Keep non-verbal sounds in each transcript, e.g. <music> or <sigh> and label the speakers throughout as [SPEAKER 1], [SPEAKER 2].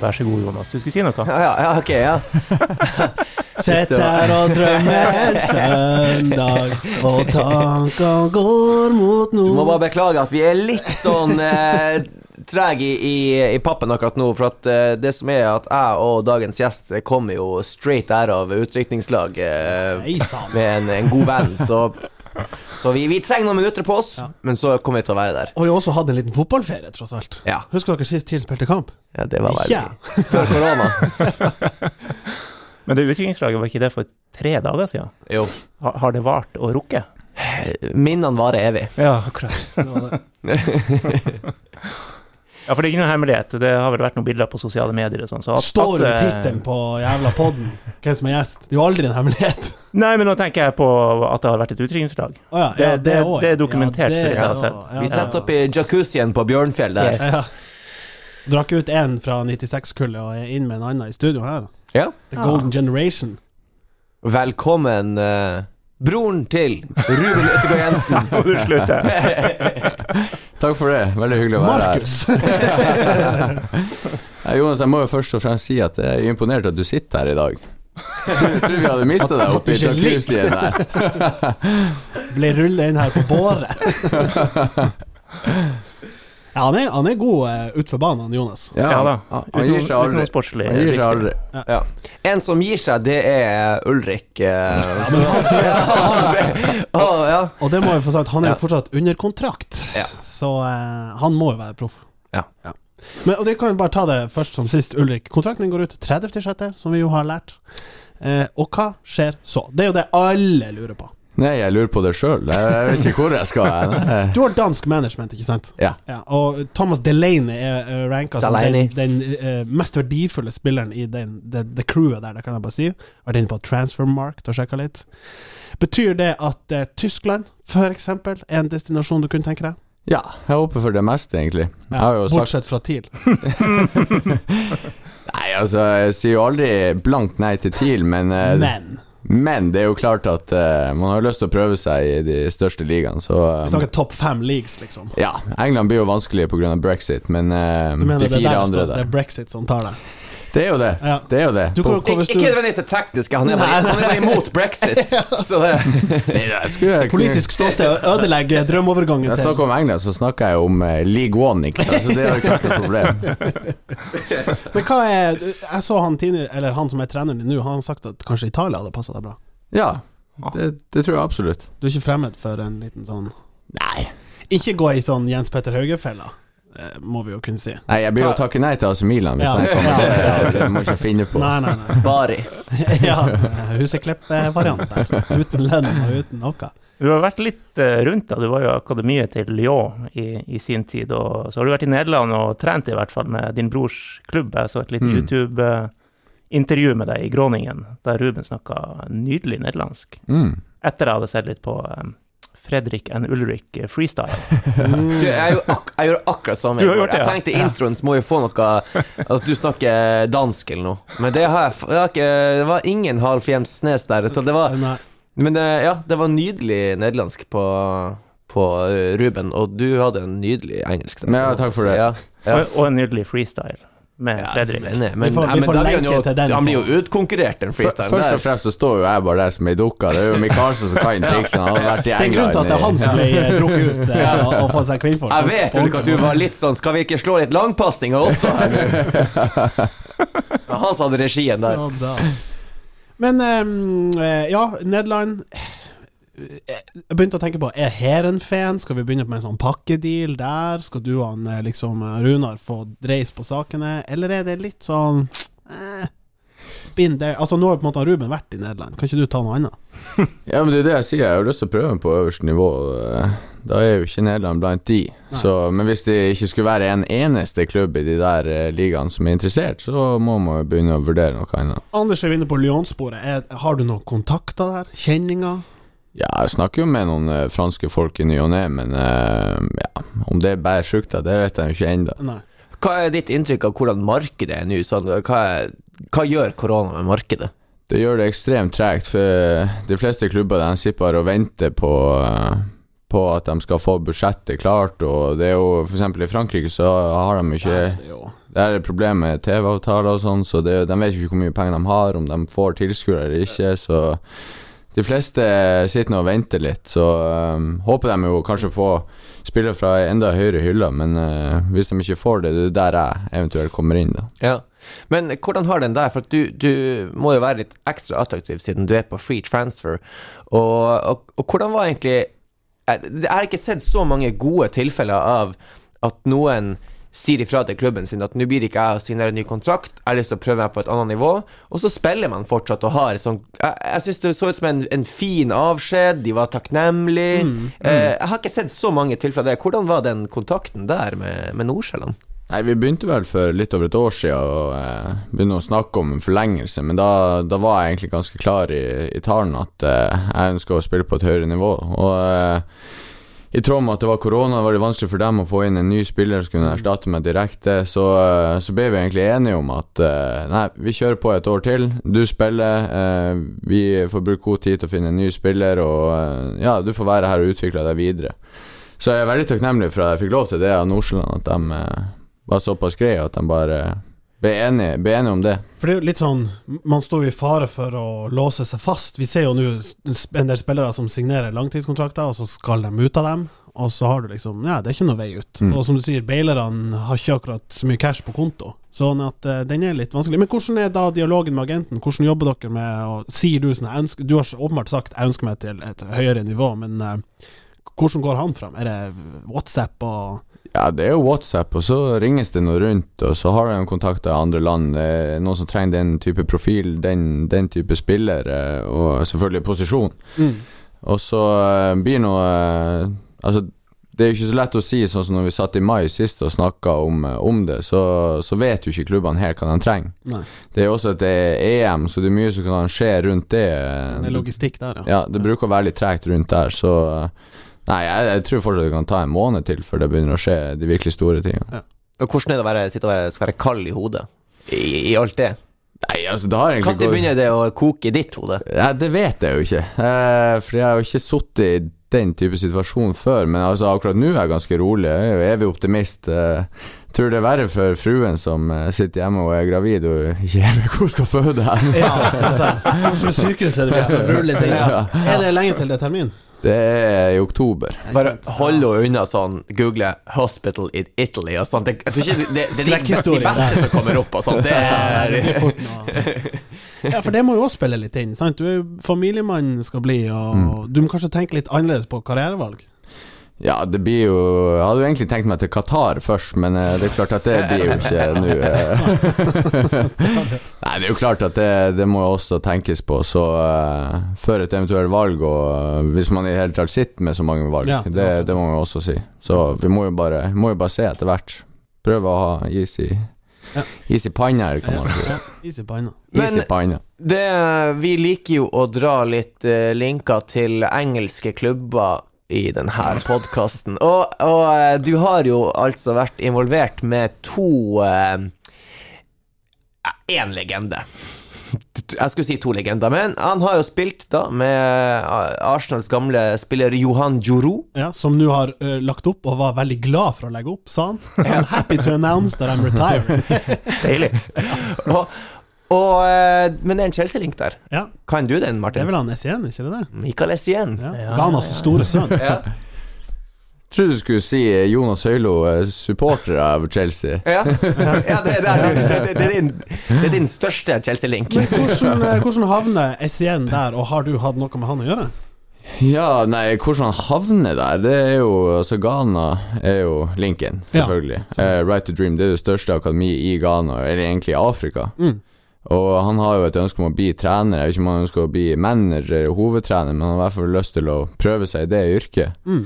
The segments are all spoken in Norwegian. [SPEAKER 1] Vær så god, Jonas. Du skulle si noe.
[SPEAKER 2] Ja, ja, ja ok, ja.
[SPEAKER 3] Sett der og drømmer søndag, og tanker går mot
[SPEAKER 2] Du må
[SPEAKER 3] nord.
[SPEAKER 2] bare beklage at vi er litt sånn eh, treg i, i, i pappen akkurat nå, for at eh, det som er at jeg og dagens gjest kommer jo straight der av utdrikningslaget eh,
[SPEAKER 3] Nei sann.
[SPEAKER 2] med en, en god venn, så så vi, vi trenger noen minutter på oss,
[SPEAKER 3] Ja.
[SPEAKER 2] men så kommer vi til å være der.
[SPEAKER 3] Og vi har også hatt en liten fotballferie, tross alt.
[SPEAKER 2] Ja,
[SPEAKER 3] Husker dere sist TIL spilte kamp?
[SPEAKER 2] ja det var veldig
[SPEAKER 3] Ikke
[SPEAKER 2] Før korona.
[SPEAKER 1] Men det utviklingslaget, var ikke det for tre dager siden?
[SPEAKER 2] Jo.
[SPEAKER 1] Har, har det vart og rukket?
[SPEAKER 2] Minnene varer evig.
[SPEAKER 1] Ja, akkurat.
[SPEAKER 3] Det var det.
[SPEAKER 1] Ja, for det er ikke noen hemmelighet. Det har vel vært noen bilder på sosiale medier og sånn. Så at-
[SPEAKER 3] Står jo
[SPEAKER 1] at, eh,
[SPEAKER 3] tittelen på jævla podden hvem som er gjest. Det er jo aldri en hemmelighet.
[SPEAKER 1] Nei, men nå tenker jeg på at det har vært et
[SPEAKER 4] <laughs>
[SPEAKER 1] utdrikningslag.
[SPEAKER 3] Å ja, ja,
[SPEAKER 1] Det- det-
[SPEAKER 3] også,
[SPEAKER 1] det er
[SPEAKER 3] ja.
[SPEAKER 1] dokumentert,
[SPEAKER 3] Ja,
[SPEAKER 1] så vidt jeg har
[SPEAKER 3] det-
[SPEAKER 1] sett.
[SPEAKER 3] ja,
[SPEAKER 2] Vi
[SPEAKER 3] ja.
[SPEAKER 2] setter opp i jacuzzien på Bjørnfjell der.
[SPEAKER 1] Yes.
[SPEAKER 3] Ja. Drakk ut én fra 96-kullet og er inn med en annen i studio her.
[SPEAKER 2] Ja.
[SPEAKER 3] The
[SPEAKER 1] Ja.
[SPEAKER 3] Golden Generation.
[SPEAKER 2] Velkommen, eh, broren til Ruben Yttergård Jensen.
[SPEAKER 1] Må du slutte?
[SPEAKER 4] Takk for det. Veldig hyggelig å være
[SPEAKER 3] Markus!
[SPEAKER 4] her. <laughs> Nei, Jonas, jeg må jo først og fremst si at jeg er imponert at du sitter her i dag. Jeg tror vi hadde mista deg oppe i
[SPEAKER 3] At du ikke ligger.
[SPEAKER 4] jacuzzien der.
[SPEAKER 3] Ble rulla inn her på båre.
[SPEAKER 2] <laughs>
[SPEAKER 3] Ja, han er, han er god eh, utfor banen, han Jonas.
[SPEAKER 1] Ja da.
[SPEAKER 4] Han, han
[SPEAKER 1] Utenom
[SPEAKER 4] gir seg aldri.
[SPEAKER 1] utenom sportslig.
[SPEAKER 4] Han gir seg aldri.
[SPEAKER 2] Ja. En som gir seg, det er Ulrik. eh,
[SPEAKER 1] <laughs>
[SPEAKER 3] Ja, men han,
[SPEAKER 2] <laughs>
[SPEAKER 3] det,
[SPEAKER 2] Å, ja.
[SPEAKER 3] og det må vi få sagt, han
[SPEAKER 2] Ja.
[SPEAKER 3] er jo fortsatt under kontrakt,
[SPEAKER 2] Ja.
[SPEAKER 3] så eh, han må jo være proff.
[SPEAKER 2] Ja.
[SPEAKER 3] Men, og det kan vi bare ta det først som sist, Ulrik. Kontrakten din går ut 30.6., som vi jo har lært. Eh, og hva skjer så? Det er jo det alle lurer på.
[SPEAKER 4] Nei, jeg lurer på det sjøl. Jeg, jeg vet ikke hvor jeg skal. Eh, Jeg. Nei.
[SPEAKER 3] Du har dansk management, ikke sant?
[SPEAKER 4] Ja.
[SPEAKER 3] og Thomas Delaney er eh, ranka som
[SPEAKER 2] Delaney.
[SPEAKER 3] den, den eh, mest verdifulle spilleren i den, det, det crewet der, det kan jeg bare si. Vært inne på Transfermarkt og sjekka litt. Betyr det at eh, Tyskland, for eksempel, er en destinasjon du kunne tenke deg?
[SPEAKER 4] ja, jeg håper for det meste, egentlig. Jeg har jo sagt
[SPEAKER 3] Bortsett fra TIL.
[SPEAKER 4] Nei, altså, jeg sier jo aldri blankt nei til TIL, men, eh,
[SPEAKER 3] Men
[SPEAKER 4] men det er jo klart at eh, man har jo lyst til å prøve seg i de største ligaene, så eh,
[SPEAKER 3] vi snakker topp fem leagues, liksom.
[SPEAKER 4] Ja, England blir jo vanskelig pga. brexit, men eh,
[SPEAKER 3] Du mener det er,
[SPEAKER 4] de
[SPEAKER 3] der
[SPEAKER 4] fire
[SPEAKER 3] det,
[SPEAKER 4] andre
[SPEAKER 3] står, det
[SPEAKER 4] der
[SPEAKER 3] er brexit som tar deg?
[SPEAKER 4] Det er jo det.
[SPEAKER 3] Ja.
[SPEAKER 4] Det er jo det.
[SPEAKER 3] Du kan jo
[SPEAKER 2] Ik
[SPEAKER 3] komme
[SPEAKER 2] ikke nødvendigvis det tekniske, han er bare, han er bare imot
[SPEAKER 1] <laughs>
[SPEAKER 2] brexit. Så det,
[SPEAKER 4] Jeg skulle- jeg kunne-
[SPEAKER 3] Politisk ståsted og ødelegge drømmeovergangen
[SPEAKER 4] Når jeg snakker
[SPEAKER 3] til
[SPEAKER 4] om England, så snakker jeg om eh, League One, ikke sant? Så det er jo ikke vært noe
[SPEAKER 3] <laughs>
[SPEAKER 4] problem.
[SPEAKER 3] Men hva er Jeg så han tidligere, eller han som er treneren din nå, han har sagt at kanskje Italia hadde passa deg bra.
[SPEAKER 4] Ja, det, det tror jeg absolutt.
[SPEAKER 3] Du er ikke fremmed for en liten sånn
[SPEAKER 4] Nei.
[SPEAKER 3] Ikke gå i sånn Jens Petter Hauge-fella, eh, må vi jo kunne si.
[SPEAKER 4] Nei, jeg blir jo takke nei til AC Milan hvis
[SPEAKER 3] Ja.
[SPEAKER 4] jeg kommer.
[SPEAKER 3] Ja.
[SPEAKER 4] Det, det må jeg ikke finne på.
[SPEAKER 3] Nei, nei, nei.
[SPEAKER 4] <laughs>
[SPEAKER 2] Bari.
[SPEAKER 3] ja, eh, Huseklepp-variant der. Uten lønn og uten noe.
[SPEAKER 1] Du har vært litt eh, rundt, da. Du var jo i akademiet til Lyon i, i sin tid. Og så har du vært i Nederland og trent i hvert fall med din brors klubb. Jeg så et lite
[SPEAKER 4] Mm.
[SPEAKER 1] YouTube-intervju med deg i Groningen, der Ruben snakka nydelig nederlandsk.
[SPEAKER 4] Mm.
[SPEAKER 1] Etter jeg hadde sett litt på eh, Fredrik and Ulrik eh, freestyle.
[SPEAKER 3] Mm.
[SPEAKER 2] Du, jeg, gjorde ak jeg gjorde akkurat samme.
[SPEAKER 1] Du har
[SPEAKER 2] i går.
[SPEAKER 1] gjort det, ja.
[SPEAKER 2] Jeg tenkte introen så må jo få noe At du snakker dansk eller noe. Men det har jeg, f- jeg har ikke Det var ingen Half Hjems Snes der. Så det var,
[SPEAKER 3] Nei.
[SPEAKER 2] men det, ja, det var nydelig nederlandsk på, på eh, Ruben, og du hadde en nydelig engelsk. der.
[SPEAKER 4] <laughs> Ja, takk for det.
[SPEAKER 2] Ja. Ja.
[SPEAKER 1] Og, og en nydelig freestyle med
[SPEAKER 2] Ja,
[SPEAKER 1] Fredrik.
[SPEAKER 2] men, men,
[SPEAKER 3] Vi får-
[SPEAKER 2] ja,
[SPEAKER 3] vi
[SPEAKER 2] men
[SPEAKER 3] får
[SPEAKER 2] da blir
[SPEAKER 3] lenke
[SPEAKER 2] han jo-
[SPEAKER 3] til den
[SPEAKER 2] Han blir
[SPEAKER 3] på-
[SPEAKER 2] jo utkonkurrert, den
[SPEAKER 4] Før-
[SPEAKER 2] freestylen
[SPEAKER 4] Først og
[SPEAKER 2] der.
[SPEAKER 4] fremst så står jo jeg bare der som ei dukka. Det er jo Michaelsen som kan triksene. Han har vært i
[SPEAKER 3] Det er grunnen
[SPEAKER 4] England
[SPEAKER 3] til at det er han som ble eh, trukket ut eh, og, og fått seg kvinnfolk.
[SPEAKER 2] Jeg vet Ulrik, at du var litt sånn Skal vi ikke slå litt langpasninger også? her
[SPEAKER 3] <laughs>
[SPEAKER 2] nå?» Det var han som hadde regien der.
[SPEAKER 3] Ja, da. Men ehm, eh, ja, Nederland Eh, Jeg begynte å tenke på Er Heerenveen Skal vi begynne med en sånn pakkedeal der? Skal du og han, eh, liksom, eh, Runar få dreis på sakene? Eller er det litt sånn eh, Been there Altså, nå har jo på en måte Ruben vært i Nederland. Kan ikke du ta noe annet?
[SPEAKER 4] Ja, men det er det jeg sier. Jeg har jo lyst til å prøve den på øverste nivå. og, eh, Da er jo ikke Nederland blant de. Så, men hvis det ikke skulle være en eneste klubb i de der eh, ligaene som er interessert, så må man jo begynne å vurdere noe annet.
[SPEAKER 3] Anders er jo inne på Lyon-sporet. Er- Har du noen kontakter der? Kjenninger?
[SPEAKER 4] Ja, jeg snakker jo med noen eh, franske folk i ny og ne, men eh, ja, om det bærer frukter, det vet jeg jo ikke ennå.
[SPEAKER 3] Nei.
[SPEAKER 2] Hva er ditt inntrykk av hvordan markedet er nå? Sånn, hva, er, hva gjør korona med markedet?
[SPEAKER 4] Det gjør det ekstremt tregt, for eh, de fleste klubber de sitter bare og venter på, eh, på at de skal få budsjettet klart, og det er jo f.eks. i Frankrike så har de jo ikke
[SPEAKER 3] Nei, det er jo-
[SPEAKER 4] Det her er et problem med TV-avtaler og sånn, så det, de vet jo ikke hvor mye penger de har, om de får tilskuere eller ikke, så de fleste sitter nå og venter litt, så eh, håper de jo kanskje få spillere fra ei enda høyere hylle, men eh, hvis de ikke får det, det er der jeg eventuelt kommer inn, da.
[SPEAKER 2] Ja. Men hvordan har den der? For at du, du må jo være litt ekstra attraktiv siden du er på free transfer. Og, og, og hvordan var egentlig eh, Jeg har ikke sett så mange gode tilfeller av at noen sier ifra til klubben sin at nå blir ikke jeg å signere en ny kontrakt, jeg har lyst til å prøve meg på et annet nivå, og så spiller man fortsatt og har et sånt Jeg, jeg syns det så ut som en, en fin avskjed, de var takknemlige Eh, Jeg har ikke sett så mange tilfeller der. Hvordan var den kontakten der med, med Nordsjælland?
[SPEAKER 4] Nei, Vi begynte vel for litt over et år siden å eh, begynne å snakke om en forlengelse, men da, da var jeg egentlig ganske klar i, i talen at eh, jeg ønsker å spille på et høyere nivå. Og eh, i tråd med at det var korona, var det vanskelig for dem å få inn en ny spiller som kunne erstatte meg direkte, så, eh, så ble vi egentlig enige om at eh, nei, vi kjører på et år til, du spiller, eh, vi får bruke god tid til å finne en ny spiller, og eh, ja, du får være her og utvikle deg videre. Så jeg er veldig takknemlig for at jeg fikk lov til det av Nordsjælland, at de eh, var såpass greie at de bare ble enige, ble enige om det.
[SPEAKER 3] For det er jo litt sånn Man står jo i fare for å låse seg fast. Vi ser jo nå en del spillere som signerer langtidskontrakter, og så skal de ut av dem. Og så har du liksom Ja, det er ikke noe vei ut.
[SPEAKER 4] Mm.
[SPEAKER 3] Og som du sier, bailerne har ikke akkurat så mye cash på konto. Sånn at eh, den er litt vanskelig. Men hvordan er da dialogen med agenten? Hvordan jobber dere med å Sier du sånn jeg ønsker, Du har så åpenbart sagt 'jeg ønsker meg til et høyere nivå', men eh, hvordan går han fram? Er det WhatsApp og
[SPEAKER 4] Ja, det er jo WhatsApp, og så ringes det noe rundt, og så har de kontakter i andre land. Det er noen som trenger den type profil, den, den type spiller, eh, og selvfølgelig posisjon.
[SPEAKER 3] Mm.
[SPEAKER 4] Og så eh, blir nå eh, Altså, det er jo ikke så lett å si, sånn som når vi satt i mai sist og snakka om, eh, om det, så, så vet jo ikke klubbene helt hva de trenger.
[SPEAKER 3] Nei.
[SPEAKER 4] Det er jo også et eh, EM, så det er mye som kan skje rundt det. eh,
[SPEAKER 3] Det er logistikk der, ja.
[SPEAKER 4] Ja, det bruker å være litt tregt rundt der, så eh, Nei, jeg, jeg tror fortsatt det kan ta en måned til før det begynner å skje de virkelig store tingene.
[SPEAKER 2] Og hvordan er det å være, sitte og være, skal være kald i hodet i, i alt det?
[SPEAKER 4] Nei, altså, det har
[SPEAKER 2] Når
[SPEAKER 4] egentlig gått
[SPEAKER 2] begynner det å koke i ditt hode?
[SPEAKER 4] ja, Det vet jeg jo ikke, eh, for jeg har jo ikke sittet i den type situasjon før. Men altså, akkurat nå er jeg ganske rolig. Jeg er jo evig optimist. Eh, tror det er verre for fruen som eh, sitter hjemme og er gravid og ikke helt vet <laughs> hvor hun skal føde henne.
[SPEAKER 3] Ja, altså, Hvilket sykehus er det vi skal rulle seg inn
[SPEAKER 4] Ja.
[SPEAKER 3] på? Er det lenge til det er termin?
[SPEAKER 4] Det er i oktober.
[SPEAKER 2] Bare hold henne unna sånn Google 'Hospital in Italy' og sånt. Det- Jeg tror ikke det, det, det er de- de
[SPEAKER 3] Skrekkhistorie.
[SPEAKER 2] beste som kommer opp og sånt. Det
[SPEAKER 3] Ja, det blir
[SPEAKER 2] er
[SPEAKER 3] fort noe. Ja, for det må jo også spille litt inn. Sant? Du er jo familiemann skal bli,
[SPEAKER 2] Mm.
[SPEAKER 3] og du må kanskje tenke litt annerledes på
[SPEAKER 2] <laughs>
[SPEAKER 3] karrierevalg.
[SPEAKER 4] Ja, det blir jo Jeg hadde jo egentlig tenkt meg til Qatar først, men eh, det er klart at det blir jo ikke nå. eh. <laughs> Nei, det er jo klart at det, det må jo også tenkes på, så eh, før et eventuelt valg, og eh, hvis man i det hele tatt sitter med så mange valg,
[SPEAKER 3] Ja, det er
[SPEAKER 4] det,
[SPEAKER 3] akkurat det.
[SPEAKER 4] det må man jo også si. Så vi må jo bare, må jo bare se etter hvert. Prøve å ha is i,
[SPEAKER 3] Ja.
[SPEAKER 4] is i panna, eller hva man sier.
[SPEAKER 3] Ja, Is i panna.
[SPEAKER 4] Is
[SPEAKER 2] Men-
[SPEAKER 4] i panna.
[SPEAKER 2] det, Vi liker jo å dra litt eh, linker til engelske klubber i denne podkasten. Og, og eh, du har jo altså vært involvert med to eh, Én legende. Jeg skulle si to legender, men han har jo spilt da med eh, Arsenals gamle spiller Johan Juru.
[SPEAKER 3] Ja, som nå har ø, lagt opp, og var veldig glad for å legge opp, sa han. I'm happy to announce that I'm
[SPEAKER 2] <laughs>
[SPEAKER 3] retired. <laughs>
[SPEAKER 1] Deilig.
[SPEAKER 2] Og, og, eh, men det er en Chelsea-link der.
[SPEAKER 3] Ja,
[SPEAKER 2] Kan du den,
[SPEAKER 3] det er
[SPEAKER 2] Martin?
[SPEAKER 3] vel han Essien, ikke det det?
[SPEAKER 2] Mikael Essien.
[SPEAKER 3] Ja.
[SPEAKER 1] Ja.
[SPEAKER 3] Ghanas store sønn.
[SPEAKER 2] Ja.
[SPEAKER 4] Tror du skulle si eh, Jonas Høylo, eh, supporter av Chelsea.
[SPEAKER 2] Ja, <laughs> ja det, det, er, det, det, det, er din, det er din største Chelsea-link.
[SPEAKER 3] Men hvordan, ø, hvordan havner Essien der, og har du hatt noe med han å gjøre?
[SPEAKER 4] Ja, nei, hvordan han havner der, det er jo Altså, Ghana er jo Lincoln,
[SPEAKER 3] Ja.
[SPEAKER 4] selvfølgelig. Eh, right to Dream det er det største akademiet i Ghana, eller egentlig i Afrika.
[SPEAKER 3] Mm.
[SPEAKER 4] Og han har jo et ønske om å bli trener. Jeg vet ikke om han ønsker å bli manager eller hovedtrener, men han har i hvert fall lyst til å prøve seg i det yrket.
[SPEAKER 3] Mm.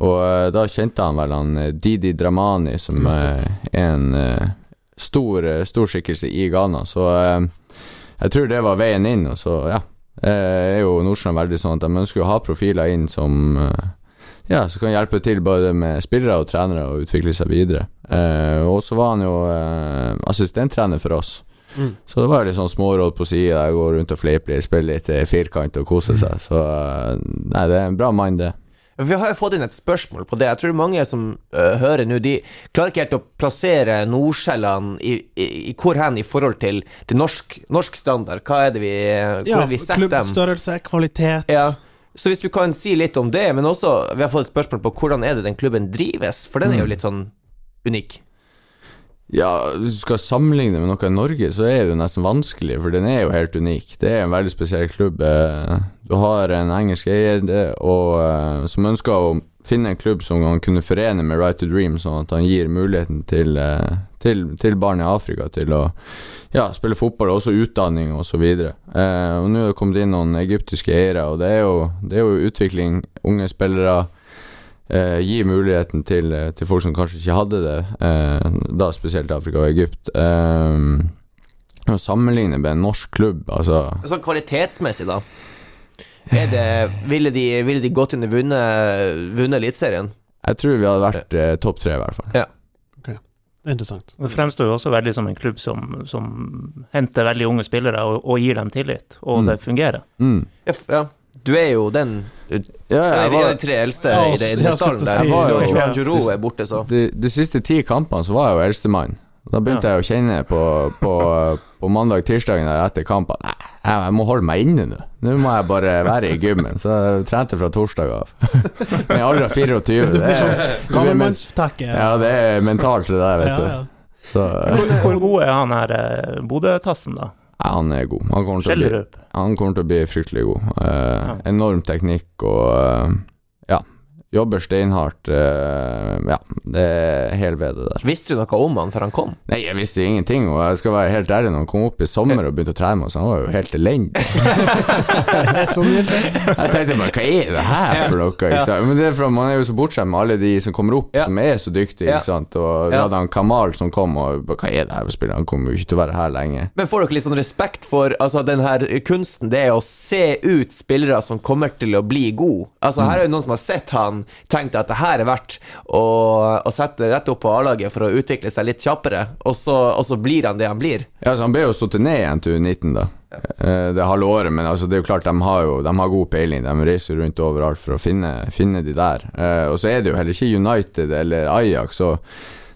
[SPEAKER 4] Og eh, da kjente han vel han eh, Didi Dramani, som eh, er en eh, stor, eh, stor skikkelse i Ghana. Så eh, jeg tror det var veien inn, og så, ja. Eh, er jo Nordstrand veldig sånn at de ønsker å ha profiler inn som eh, Ja, som kan hjelpe til både med spillere og trenere og utvikle seg videre. Eh, og så var han jo eh, assistenttrener for oss.
[SPEAKER 3] Mm.
[SPEAKER 4] Så det var jo litt sånn småråd på sida, gå rundt og fleipe litt, spille litt eh, firkant og kose seg. Så eh, nei, det er en bra mann, det.
[SPEAKER 2] Vi har jo fått inn et spørsmål på det. Jeg tror mange som øh, hører nå, de klarer ikke helt å plassere Nordsjælland i, i, i hvor hen i forhold til, til norsk, norsk standard. Hva er det vi, eh, hvor
[SPEAKER 3] Ja,
[SPEAKER 2] er det vi setter dem?
[SPEAKER 3] klubbstørrelse, kvalitet.
[SPEAKER 2] Ja. Så hvis du kan si litt om det, men også vi har fått et spørsmål på hvordan er det den klubben drives, for den er jo litt sånn unik.
[SPEAKER 4] Ja, hvis du skal sammenligne med noe i Norge, så er det jo nesten vanskelig, for den er jo helt unik. Det er en veldig spesiell klubb. Eh, Du har en engelsk eier det- og, eh, som ønsker å finne en klubb som han kunne forene med Right to Dream, sånn at han gir muligheten til, eh, til, til barn i Afrika til å ja, spille fotball, og også utdanning og så videre. Eh, og nå er det kommet inn noen egyptiske eiere, og det er jo, det er jo utvikling, unge spillere eh, gi muligheten til, eh, til folk som kanskje ikke hadde det, eh, da spesielt Afrika og Egypt. Eh, å sammenligne med en norsk klubb, altså
[SPEAKER 2] Sånn kvalitetsmessig, da. Er det, ville, de, ville de gått inn og vunnet, vunnet Eliteserien?
[SPEAKER 4] Jeg tror vi hadde vært eh, topp tre, i hvert fall.
[SPEAKER 3] Det er interessant.
[SPEAKER 1] Det fremstår jo også veldig som en klubb som, som henter veldig unge spillere og, og gir dem tillit, og
[SPEAKER 4] Mm.
[SPEAKER 1] det fungerer.
[SPEAKER 4] Mm.
[SPEAKER 2] Ja, f- ja. Du er jo den
[SPEAKER 4] Ja,
[SPEAKER 2] Nei,
[SPEAKER 4] jeg
[SPEAKER 2] vi er
[SPEAKER 4] var,
[SPEAKER 2] de tre eldste
[SPEAKER 3] Ja, altså,
[SPEAKER 2] i det- i
[SPEAKER 3] jeg
[SPEAKER 2] den
[SPEAKER 3] skulle
[SPEAKER 2] stallen
[SPEAKER 3] til å
[SPEAKER 2] der.
[SPEAKER 3] si-
[SPEAKER 4] var jo-
[SPEAKER 2] Johan Giroud er borte, så.
[SPEAKER 4] de, de siste ti kampene så var jeg jo eldstemann. Da begynte jeg å kjenne på, på, på mandag-tirsdagen der etter kamp at nei, jeg jeg må holde meg inne nå. Nå må jeg bare være i gymmen. Så jeg trente fra torsdag av. <laughs> Men jeg er aldri 24.
[SPEAKER 3] Du blir
[SPEAKER 4] Det
[SPEAKER 3] sånn
[SPEAKER 4] er, du blir men,
[SPEAKER 3] Gammelmannstakke.
[SPEAKER 4] ja, det er mentalt, det der, vet du. Så eh.
[SPEAKER 1] Hvor, hvor god er han her eh, Bodø-tassen, da?
[SPEAKER 4] ja, han er god. Han kommer til å bli,
[SPEAKER 1] Skjellerup?
[SPEAKER 4] han kommer til å bli fryktelig god. Eh,
[SPEAKER 1] Ja.
[SPEAKER 4] Enorm teknikk og eh, ja. Jobber steinhardt. eh, ja, det er hel ved det der.
[SPEAKER 2] Visste du noe om han før han kom?
[SPEAKER 4] Nei, jeg visste ingenting, og jeg skal være helt ærlig, når han kom opp i sommer og begynte å trene med oss, han var jo helt elendig.
[SPEAKER 3] <laughs> Det er sånn det er.
[SPEAKER 4] Jeg tenkte bare, hva er det her for noe? Ikke sant? Men det er for at man er jo så bortskjemt med alle de som kommer opp,
[SPEAKER 2] Ja.
[SPEAKER 4] som er så dyktige,
[SPEAKER 2] Ja.
[SPEAKER 4] ikke sant. Og vi
[SPEAKER 2] Ja.
[SPEAKER 4] hadde han Kamal som kom, og bare, hva er det her for spiller? Han kommer jo ikke til å være her lenge.
[SPEAKER 2] Men får dere litt sånn respekt for altså, den her kunsten, det er å se ut spillere som kommer til å bli gode? Altså, her er jo noen som har sett han, tenkt at det her er verdt å, å sette rett opp på A-laget for å utvikle seg litt kjappere, og så, og så blir han det han blir.
[SPEAKER 4] Ja, så Han ble jo satt ned igjen til U19, da. Eh, Det halve året, men altså, det er jo klart, de har jo de har god peiling. De reiser rundt overalt for å finne, finne de der. Eh, Og så er det jo heller ikke United eller Ajax, så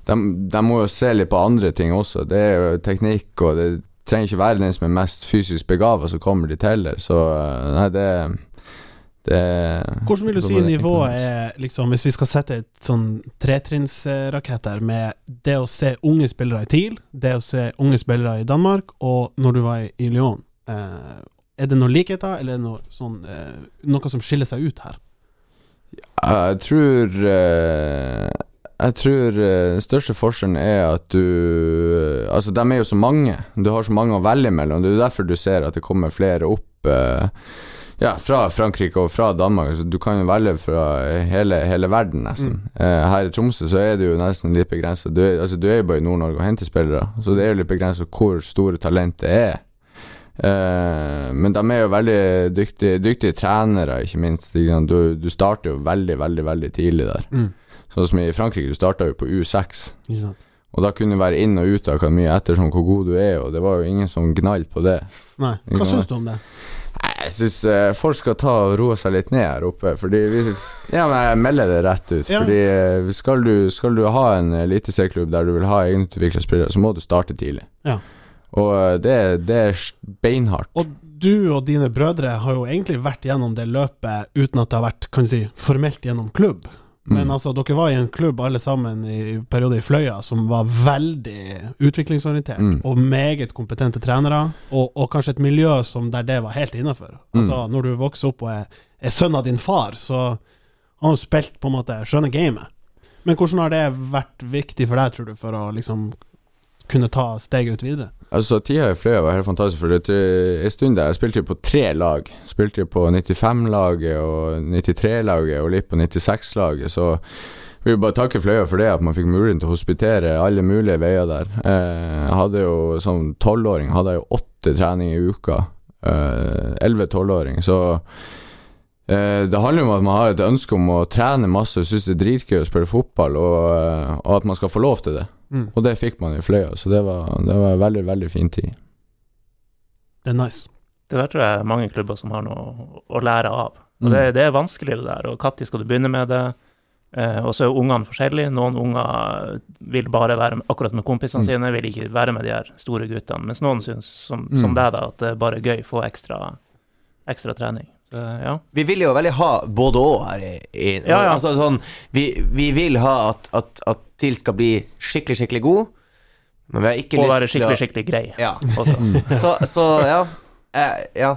[SPEAKER 4] de, de må jo se litt på andre ting også. Det er jo teknikk, og det trenger ikke være den som er mest fysisk begava som kommer dit heller, så eh, nei, det, det
[SPEAKER 3] Hvordan vil du si nivået er, liksom, hvis vi skal sette et sånn tretrinnsrakett her, med det å se unge spillere i TIL, det å se unge spillere i Danmark, og når du var i- i Lyon? Eh, er det noen likheter, eller er det noe, sånn, eh, noe som skiller seg ut her?
[SPEAKER 4] Jeg tror eh, Jeg tror eh, den største forskjellen er at du Altså, de er jo så mange. Du har så mange å velge mellom. Det er jo derfor du ser at det kommer flere opp eh, ja, fra Frankrike og fra Danmark. Så du kan jo velge fra hele, hele verden, nesten. Eh, her i Tromsø så er det jo nesten litt begrensa. Du, er- altså, du er jo bare i Nord-Norge og henter spillere, så det er jo litt begrensa hvor store talent det er. Eh, men de er jo veldig dyktige, dyktige trenere, ikke minst. ikke sant? Du, du starter jo veldig, veldig veldig tidlig der.
[SPEAKER 3] Mm.
[SPEAKER 4] Sånn som i Frankrike, du starta jo på U6.
[SPEAKER 3] Ikke sant?
[SPEAKER 4] Og da kunne du være inn og ut av akademiet ettersom hvor god du er, og det var jo ingen som gnalt på det.
[SPEAKER 3] Nei. Hva
[SPEAKER 4] Ikke sant?
[SPEAKER 3] syns du om det?
[SPEAKER 4] Nei, Jeg syns eh, folk skal ta og roe seg litt ned her oppe, fordi vi Ja, men jeg melder det rett ut,
[SPEAKER 3] Ja.
[SPEAKER 4] fordi eh, skal du, skal du ha en eliteserieklubb der du vil ha egenutvikla spillere, så må du starte tidlig.
[SPEAKER 3] Ja.
[SPEAKER 4] Og eh, det, det er beinhardt.
[SPEAKER 3] Og du og dine brødre har jo egentlig vært gjennom det løpet uten at det har vært kan du si, formelt gjennom klubb.
[SPEAKER 4] Mm.
[SPEAKER 3] Men altså, dere var i en klubb alle sammen i perioder i Fløya som var veldig utviklingsorientert,
[SPEAKER 4] Mm.
[SPEAKER 3] og meget kompetente trenere, og, og kanskje et miljø som der det var helt innafor.
[SPEAKER 4] Mm.
[SPEAKER 3] Altså, når du vokser opp og er, er sønn av din far, så har han jo spilt på en måte skjønne gamet. Men hvordan har det vært viktig for deg, tror du, for å liksom kunne ta steget ut videre?
[SPEAKER 4] Altså, tida i Fløya var helt fantastisk, for det, en stund der jeg spilte jo på tre lag. Spilte jo på 95-laget og 93-laget og litt på 96-laget, så vi vil bare takke Fløya for det, at man fikk muligheten til å hospitere alle mulige veier der. Eh, Jeg hadde jo som tolvåring hadde jeg jo åtte treninger i uka. Elleve-tolvåring, så eh, det handler jo om at man har et ønske om å trene masse og synes det er dritgøy å spille fotball, og, eh, og at man skal få lov til det.
[SPEAKER 3] Mm.
[SPEAKER 4] Og det fikk man i Fløya, så det var, det var en veldig, veldig fin tid.
[SPEAKER 3] Det er nice.
[SPEAKER 1] Det der tror jeg er mange klubber som har noe å lære av. Og det,
[SPEAKER 4] Mm.
[SPEAKER 1] det er vanskelig, det der. Og når skal du begynne med det? Eh, og så er jo ungene forskjellige. Noen unger vil bare være med, akkurat med kompisene
[SPEAKER 4] Mm.
[SPEAKER 1] sine, vil ikke være med de her store guttene. Mens noen syns, som,
[SPEAKER 4] Mm.
[SPEAKER 1] som deg, da, at det er bare gøy å få ekstra, ekstra trening. Så, ja.
[SPEAKER 2] Vi vil jo veldig ha både og her i, i
[SPEAKER 1] Ja, ja.
[SPEAKER 2] Altså sånn Vi, vi vil ha at, at, at TIL skal bli skikkelig, skikkelig god, men vi har ikke
[SPEAKER 1] Og være
[SPEAKER 2] lyst til å
[SPEAKER 1] skikkelig, skikkelig grei.
[SPEAKER 2] Ja.
[SPEAKER 4] <laughs>
[SPEAKER 1] Også.
[SPEAKER 4] Mm.
[SPEAKER 2] Så, så ja. Eh, ja.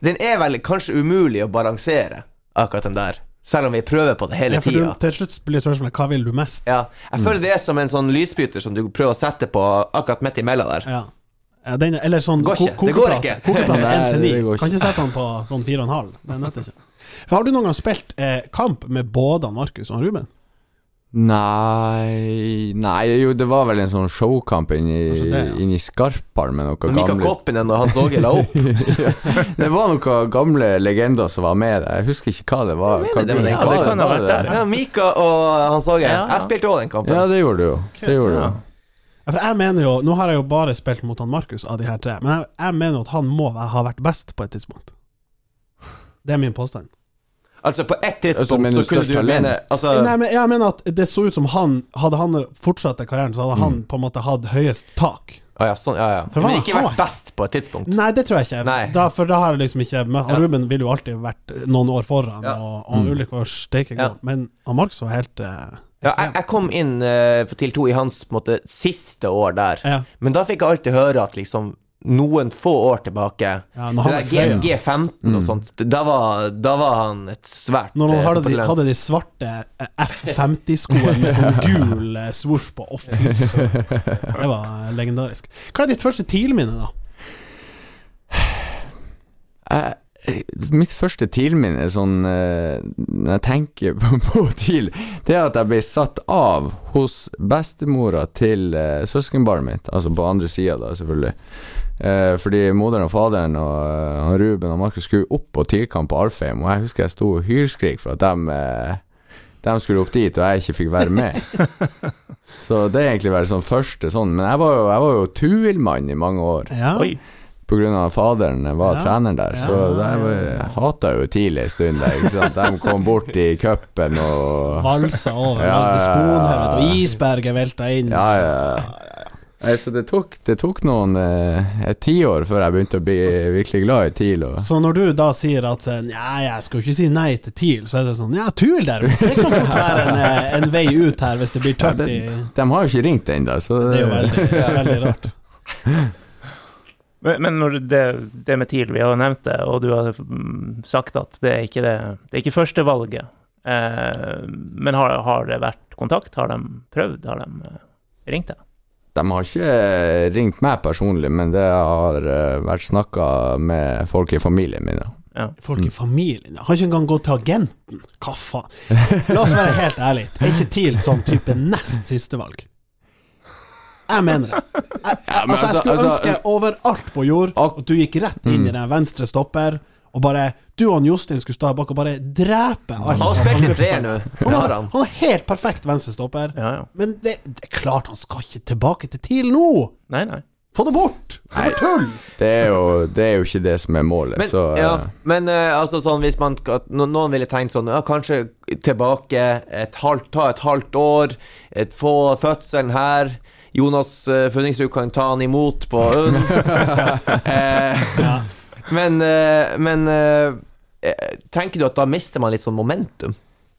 [SPEAKER 2] Den er vel kanskje umulig å balansere, akkurat den der. Selv om vi prøver på det hele
[SPEAKER 3] Ja, for du,
[SPEAKER 2] tida.
[SPEAKER 3] til slutt blir spørsmålet hva vil du mest?
[SPEAKER 2] Ja. Jeg føler det er som en sånn lysbryter som du prøver å sette på akkurat midt imellom der.
[SPEAKER 3] Ja. Ja, den, eller sånn
[SPEAKER 2] Går ikke.
[SPEAKER 3] ko-
[SPEAKER 2] Det går
[SPEAKER 3] kokeplate.
[SPEAKER 2] ikke.
[SPEAKER 3] Kokeplate
[SPEAKER 4] Nei,
[SPEAKER 3] 1 til
[SPEAKER 4] det
[SPEAKER 3] 9.
[SPEAKER 4] går
[SPEAKER 3] Kan
[SPEAKER 4] ikke.
[SPEAKER 3] ikke sette han på sånn 4,5. Det er nødt til ikke. For Har du noen gang spilt eh, kamp med både han Markus og han Ruben?
[SPEAKER 4] Nei Nei, jo, det var vel en sånn showkamp inni,
[SPEAKER 3] Kanskje det, ja.
[SPEAKER 4] inni Skarpar med noen
[SPEAKER 2] Men Mikael
[SPEAKER 4] gamle
[SPEAKER 2] Koppinen og Hans Åge la opp.
[SPEAKER 4] Det var noen gamle legender som var med der. Jeg husker ikke hva det var.
[SPEAKER 2] Jeg mener det var den
[SPEAKER 4] ja, det
[SPEAKER 2] kampen.
[SPEAKER 4] kan ha vært der.
[SPEAKER 2] Ja, Mika og Hans Åge.
[SPEAKER 1] Ja, ja.
[SPEAKER 2] Jeg spilte òg den kampen.
[SPEAKER 4] Ja, det gjorde du jo. Det gjorde du. jo.
[SPEAKER 3] Ja, For jeg mener jo Nå har jeg jo bare spilt mot han Markus av de her tre, men jeg, jeg mener jo at han må væ- ha vært best på et tidspunkt. Det er min påstand.
[SPEAKER 2] Altså, på ett tidspunkt
[SPEAKER 4] Altså, men
[SPEAKER 2] så
[SPEAKER 4] du
[SPEAKER 2] kunne
[SPEAKER 4] størst
[SPEAKER 2] du
[SPEAKER 4] talent.
[SPEAKER 2] mene altså,
[SPEAKER 3] Nei, men jeg mener at det så ut som han Hadde han fortsatt karrieren, så hadde
[SPEAKER 4] Mm.
[SPEAKER 3] han på en måte hatt høyest tak.
[SPEAKER 2] Å ja, sånn, ja, ja.
[SPEAKER 3] For
[SPEAKER 2] Men
[SPEAKER 3] hva-
[SPEAKER 2] ikke vært
[SPEAKER 3] hva-
[SPEAKER 2] best på et tidspunkt.
[SPEAKER 3] Nei, det tror jeg ikke.
[SPEAKER 2] Nei.
[SPEAKER 3] Da, for da har jeg liksom ikke møtt
[SPEAKER 2] Ja.
[SPEAKER 3] han Ruben ville jo alltid vært noen år foran,
[SPEAKER 2] Ja.
[SPEAKER 3] og, og
[SPEAKER 4] Mm.
[SPEAKER 3] han Ulrik var steike
[SPEAKER 2] Ja.
[SPEAKER 3] god, men han Markus var helt eh,
[SPEAKER 2] Ja, jeg, jeg kom inn eh, på TIL 2 i hans på en måte, siste år der.
[SPEAKER 3] ja.
[SPEAKER 2] Men da fikk jeg alltid høre at liksom noen få år tilbake
[SPEAKER 3] Ja,
[SPEAKER 2] det
[SPEAKER 3] når han
[SPEAKER 2] der
[SPEAKER 3] var
[SPEAKER 2] G,
[SPEAKER 3] fløy, ja.
[SPEAKER 2] G15 og sånt, da var, da var han et svært
[SPEAKER 3] Når
[SPEAKER 2] eh,
[SPEAKER 3] han hadde de,
[SPEAKER 2] fotballtalent.
[SPEAKER 3] hadde de svarte eh, F50-skoene med sånn gul eh, svosj på, å fy søren. Det var eh, legendarisk. Hva er ditt første TIL-minne, da?
[SPEAKER 4] Jeg- Mitt første TIL-minne er sånn eh, Når jeg tenker på, <laughs> på TIL, det er at jeg ble satt av hos bestemora til eh, søskenbarnet mitt, altså på andre sida, da, selvfølgelig. Eh, fordi moderen og faderen og eh, han Ruben og Markus skulle opp på TIL-kamp på Alfheim, og jeg husker jeg sto og hylskrik for at dem eh, dem skulle opp dit, og jeg ikke fikk være med. Så det er egentlig vært sånn første sånn. Men jeg var jo, jeg var jo Tuil-mann i mange år.
[SPEAKER 3] Ja.
[SPEAKER 1] Oi.
[SPEAKER 4] På grunn av faderen var
[SPEAKER 3] Ja.
[SPEAKER 4] trener der, så
[SPEAKER 3] Ja,
[SPEAKER 4] der var-
[SPEAKER 3] ja, ja.
[SPEAKER 4] hata jeg jo tidlig en stund der. Ikke sant? De kom bort i cupen og
[SPEAKER 3] Valsa over,
[SPEAKER 4] Ja,
[SPEAKER 3] lagde
[SPEAKER 4] ja, ja.
[SPEAKER 3] sponhaug, og isberget velta inn.
[SPEAKER 4] Ja, ja. Nei, så det tok, det tok noen eh, et tiår før jeg begynte å bli virkelig glad i TIL. Og
[SPEAKER 3] Så når du da sier at eh, Nei, jeg skal jo ikke si nei til TIL, så er det sånn Ja, TUL derimot, det kan fort være en, eh, en vei ut her hvis det blir tørt i
[SPEAKER 4] de har jo ikke ringt ennå, så
[SPEAKER 3] Det er jo veldig, veldig rart.
[SPEAKER 1] Men, men når det, det med TIL, vi har jo nevnt det, og du har mm, sagt at det er ikke det, det er ikke førstevalget. Eh, men har, har det vært kontakt? Har de prøvd? Har de eh, ringt deg?
[SPEAKER 4] De har ikke eh, ringt meg personlig, men det har eh, vært snakka med folk i familien min. da.
[SPEAKER 3] Folk i familien ja. Har ikke engang gått til agenten. Hva faen? La oss være helt ærlige. Er ikke TIL sånn type nest siste valg? Jeg mener det. Jeg,
[SPEAKER 4] men
[SPEAKER 3] altså, jeg
[SPEAKER 4] altså-
[SPEAKER 3] skulle
[SPEAKER 4] altså-
[SPEAKER 3] ønske overalt på jord at du gikk rett inn i den venstre stopper, og bare Du og han Jostein skulle stå her bak og bare drepe
[SPEAKER 2] Han
[SPEAKER 3] alt.
[SPEAKER 2] har
[SPEAKER 3] av
[SPEAKER 2] spilt i tre
[SPEAKER 3] angrepsspill.
[SPEAKER 2] nå.
[SPEAKER 3] Han
[SPEAKER 2] Det har
[SPEAKER 3] har,
[SPEAKER 2] han.
[SPEAKER 3] han er helt perfekt venstre stopper,
[SPEAKER 1] Ja, ja.
[SPEAKER 3] men det, det er klart han skal ikke tilbake til TIL nå!
[SPEAKER 1] Nei, nei.
[SPEAKER 3] Få det bort! Det er bare tull!
[SPEAKER 4] Det er, jo, det er jo ikke det som er målet,
[SPEAKER 2] Men,
[SPEAKER 4] så eh,
[SPEAKER 2] ja, men eh, altså sånn hvis man at no- Noen ville tenkt sånn ja, Kanskje tilbake et halvt, ta et halvt år, et, få fødselen her. Jonas uh, Funningsrud kan ta han imot på
[SPEAKER 4] <laughs>
[SPEAKER 2] UNN. Eh,
[SPEAKER 3] Ja.
[SPEAKER 2] men eh, men eh, eh, tenker du at da mister man litt sånn momentum?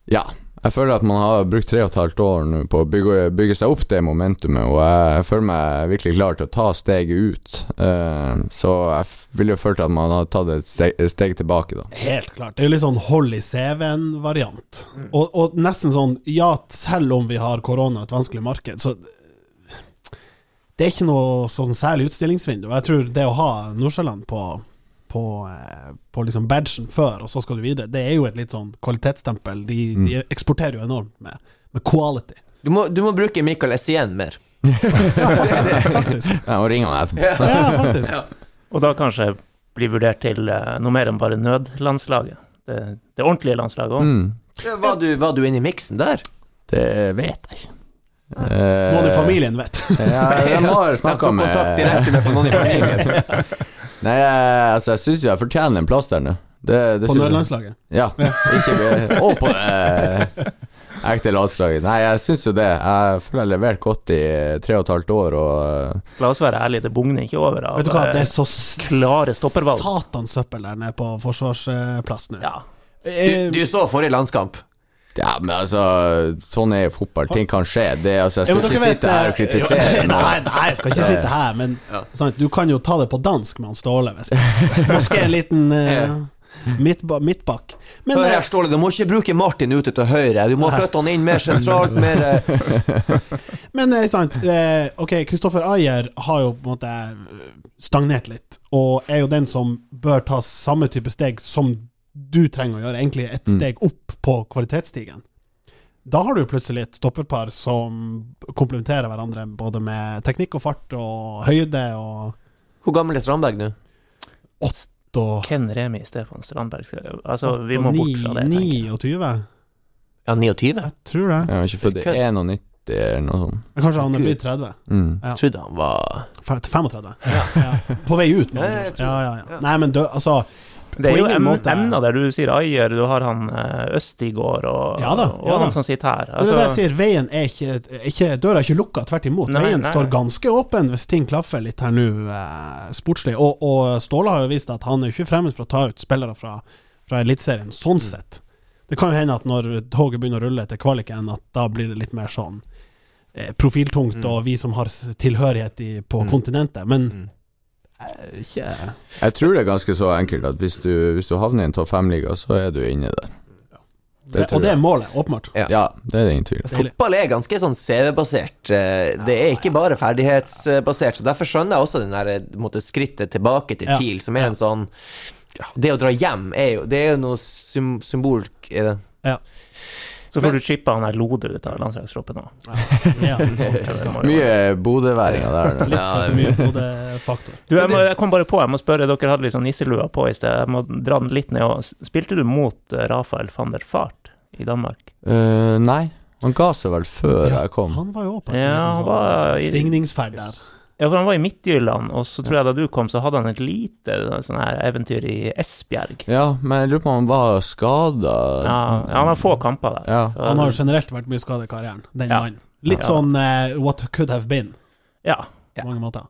[SPEAKER 4] Ja. Jeg føler at man har brukt tre og et halvt år nå på å bygge, bygge seg opp det momentumet, og jeg føler meg virkelig klar til å ta steget ut. Eh, så jeg f- ville jo følt at man hadde tatt et steg, et steg tilbake, da.
[SPEAKER 3] Helt klart. Det er jo litt sånn hold i CV-en-variant. Og, og nesten sånn ja, selv om vi har korona og et vanskelig marked, så Det er ikke noe sånn særlig utstillingsvindu. Jeg tror det å ha Nordsjøland på, på, eh, på liksom badgen før, og så skal du videre, det er jo et litt sånn kvalitetsstempel. De, de eksporterer jo enormt med, med quality.
[SPEAKER 2] Du må, du må bruke Michael Essien mer.
[SPEAKER 3] Ja, faktisk. faktisk.
[SPEAKER 4] Nei, og ringer han etterpå.
[SPEAKER 3] Ja, faktisk.
[SPEAKER 1] Og da kanskje bli vurdert til eh, noe mer enn bare nødlandslaget. Det, det ordentlige landslaget òg.
[SPEAKER 4] Mm.
[SPEAKER 2] Var du, var du inne i miksen der?
[SPEAKER 4] Det vet jeg ikke.
[SPEAKER 3] Noen i
[SPEAKER 4] Uh,
[SPEAKER 3] familien vet.
[SPEAKER 4] <laughs> Ja, de <laughs> har
[SPEAKER 2] Jeg
[SPEAKER 4] snakka
[SPEAKER 2] tok kontakt
[SPEAKER 4] med <laughs>
[SPEAKER 2] direkte med noen i familien.
[SPEAKER 4] Nei, jeg- altså, jeg syns jo jeg fortjener en plass der nå. Det, det
[SPEAKER 3] på
[SPEAKER 4] synes jeg-
[SPEAKER 3] nødlandslaget.
[SPEAKER 4] Ja. Ikke be- Og på det ekte landslaget. Nei, jeg syns jo det. Jeg føler jeg har levert godt i tre og et halvt år, og eh,
[SPEAKER 1] La oss være ærlige, det bugner ikke over av
[SPEAKER 3] Vet du hva,
[SPEAKER 1] eh,
[SPEAKER 3] det er så
[SPEAKER 1] klare stoppervalg.
[SPEAKER 3] satans søppel der nede på forsvarsplass nå.
[SPEAKER 1] Ja.
[SPEAKER 3] Eh,
[SPEAKER 2] Du, du så forrige landskamp.
[SPEAKER 4] ja, men altså, sånn er jo fotball. Ting kan skje. Det, altså, jeg
[SPEAKER 3] Ja,
[SPEAKER 4] skal
[SPEAKER 3] men
[SPEAKER 4] ikke
[SPEAKER 3] dere
[SPEAKER 4] sitte
[SPEAKER 3] vet,
[SPEAKER 4] her og
[SPEAKER 3] eh,
[SPEAKER 4] kritisere
[SPEAKER 3] <laughs> Nei,
[SPEAKER 4] noen.
[SPEAKER 3] nei, jeg skal ikke
[SPEAKER 4] Det-
[SPEAKER 3] sitte her, men sant, du kan jo ta det på dansk med han Ståle, hvis det
[SPEAKER 4] <laughs>
[SPEAKER 3] Måske en liten uh, midtba midtbakk. Men
[SPEAKER 2] Hør her,
[SPEAKER 3] eh,
[SPEAKER 2] Ståle, du må ikke bruke Martin ute til høyre. Du må flytte han inn mer sentralt. Mer, eh,
[SPEAKER 3] Men eh, sant, eh, ok, Kristoffer Ayer har jo på en måte eh, stagnert litt, og er jo den som bør ta samme type steg som du trenger å gjøre, egentlig et
[SPEAKER 2] Mm.
[SPEAKER 3] steg opp på kvalitetsstigen. Da har du plutselig et stopperpar som komplementerer hverandre både med teknikk og fart og høyde og
[SPEAKER 2] hvor gammel er Strandberg nå?
[SPEAKER 3] åtte og
[SPEAKER 1] Ken Remi, Stefan Strandberg skal, Altså,
[SPEAKER 3] åtte
[SPEAKER 1] vi
[SPEAKER 3] og
[SPEAKER 1] må
[SPEAKER 3] ni-
[SPEAKER 1] bort fra det. tenker jeg.
[SPEAKER 3] 29?
[SPEAKER 2] Ja, 29?
[SPEAKER 3] Jeg tror det.
[SPEAKER 4] Jeg er ikke født i 91 eller noe sånt.
[SPEAKER 3] Kanskje han er
[SPEAKER 2] Gud.
[SPEAKER 3] blitt 30?
[SPEAKER 4] Mm.
[SPEAKER 3] Ja.
[SPEAKER 2] Jeg trodde han var
[SPEAKER 3] Fe- 35? Ja. På vei ut, med
[SPEAKER 2] Ja,
[SPEAKER 3] andre
[SPEAKER 2] jeg
[SPEAKER 3] ord.
[SPEAKER 2] tror
[SPEAKER 3] ja,
[SPEAKER 2] det.
[SPEAKER 3] ja, ja.
[SPEAKER 2] Ja.
[SPEAKER 3] Nei, men dø, altså
[SPEAKER 1] Det er jo
[SPEAKER 3] ingen
[SPEAKER 1] em
[SPEAKER 3] måte-
[SPEAKER 1] emner der. Du sier Ayer, du har han eh, Østigård og,
[SPEAKER 3] Ja da, ja
[SPEAKER 1] og
[SPEAKER 3] da.
[SPEAKER 1] han som sitter her.
[SPEAKER 3] Men det
[SPEAKER 1] Altså,
[SPEAKER 3] er det jeg sier, veien er ikke, er ikke Døra er ikke lukka, tvert imot.
[SPEAKER 1] Nei,
[SPEAKER 3] veien
[SPEAKER 1] nei.
[SPEAKER 3] står ganske åpen hvis ting klaffer litt her nå, eh, sportslig. Og, og Ståle har jo vist at han er jo ikke fremmed for å ta ut spillere fra, fra Eliteserien, sånn sett. Det kan jo hende at når toget begynner å rulle til kvaliken, at da blir det litt mer sånn eh, profiltungt,
[SPEAKER 2] Mm.
[SPEAKER 3] og vi som har s- tilhørighet i, på
[SPEAKER 2] Mm.
[SPEAKER 3] kontinentet.
[SPEAKER 2] Mm.
[SPEAKER 3] Men eh, ikke
[SPEAKER 4] Jeg tror det er ganske så enkelt at hvis du, hvis du havner i en topp fem-liga, så er du inne der.
[SPEAKER 3] det,
[SPEAKER 4] tror
[SPEAKER 3] Og det er målet, åpenbart.
[SPEAKER 2] Ja.
[SPEAKER 4] Ja, det er det ingen tvil om.
[SPEAKER 2] <laughs> Fotball er ganske sånn CV-basert. eh, Det er ikke bare ferdighetsbasert. Så Derfor skjønner jeg også den der, eh, måtte, skrittet tilbake til
[SPEAKER 3] Ja.
[SPEAKER 2] TIL, som er en sånn ja, Det å dra hjem er jo Det er jo noe sym symbol i det.
[SPEAKER 1] så får du chippa han her Lode ut av landslagstroppen òg.
[SPEAKER 3] Ja.
[SPEAKER 4] Mye bodøværinger der.
[SPEAKER 3] Litt for mye Bodø-faktor.
[SPEAKER 1] Du, jeg, må, jeg kom bare på, jeg må spørre, dere hadde litt sånn nisselua på i sted. Jeg må dra den litt ned. Og, s- spilte du mot eh, Rafael van der Fart i Danmark?
[SPEAKER 4] Eh, nei, han ga seg vel før
[SPEAKER 3] Ja,
[SPEAKER 4] jeg kom.
[SPEAKER 3] Han var jo åpen.
[SPEAKER 1] Ja, han var i-
[SPEAKER 3] sånn Signingsferd der.
[SPEAKER 1] Ja, for han var i Midtjylland, og så tror jeg da du kom, så hadde han et lite sånn her eventyr i Esbjerg. Ja,
[SPEAKER 4] Ja, men jeg lurer på om han var skada.
[SPEAKER 1] han har få kamper der.
[SPEAKER 4] Ja.
[SPEAKER 1] Så-
[SPEAKER 3] Han har jo generelt vært mye skadet i karrieren, den
[SPEAKER 1] Ja.
[SPEAKER 3] mannen. Litt
[SPEAKER 1] Ja.
[SPEAKER 3] sånn eh, what could have been,
[SPEAKER 1] ja.
[SPEAKER 2] Ja.
[SPEAKER 3] på mange måter.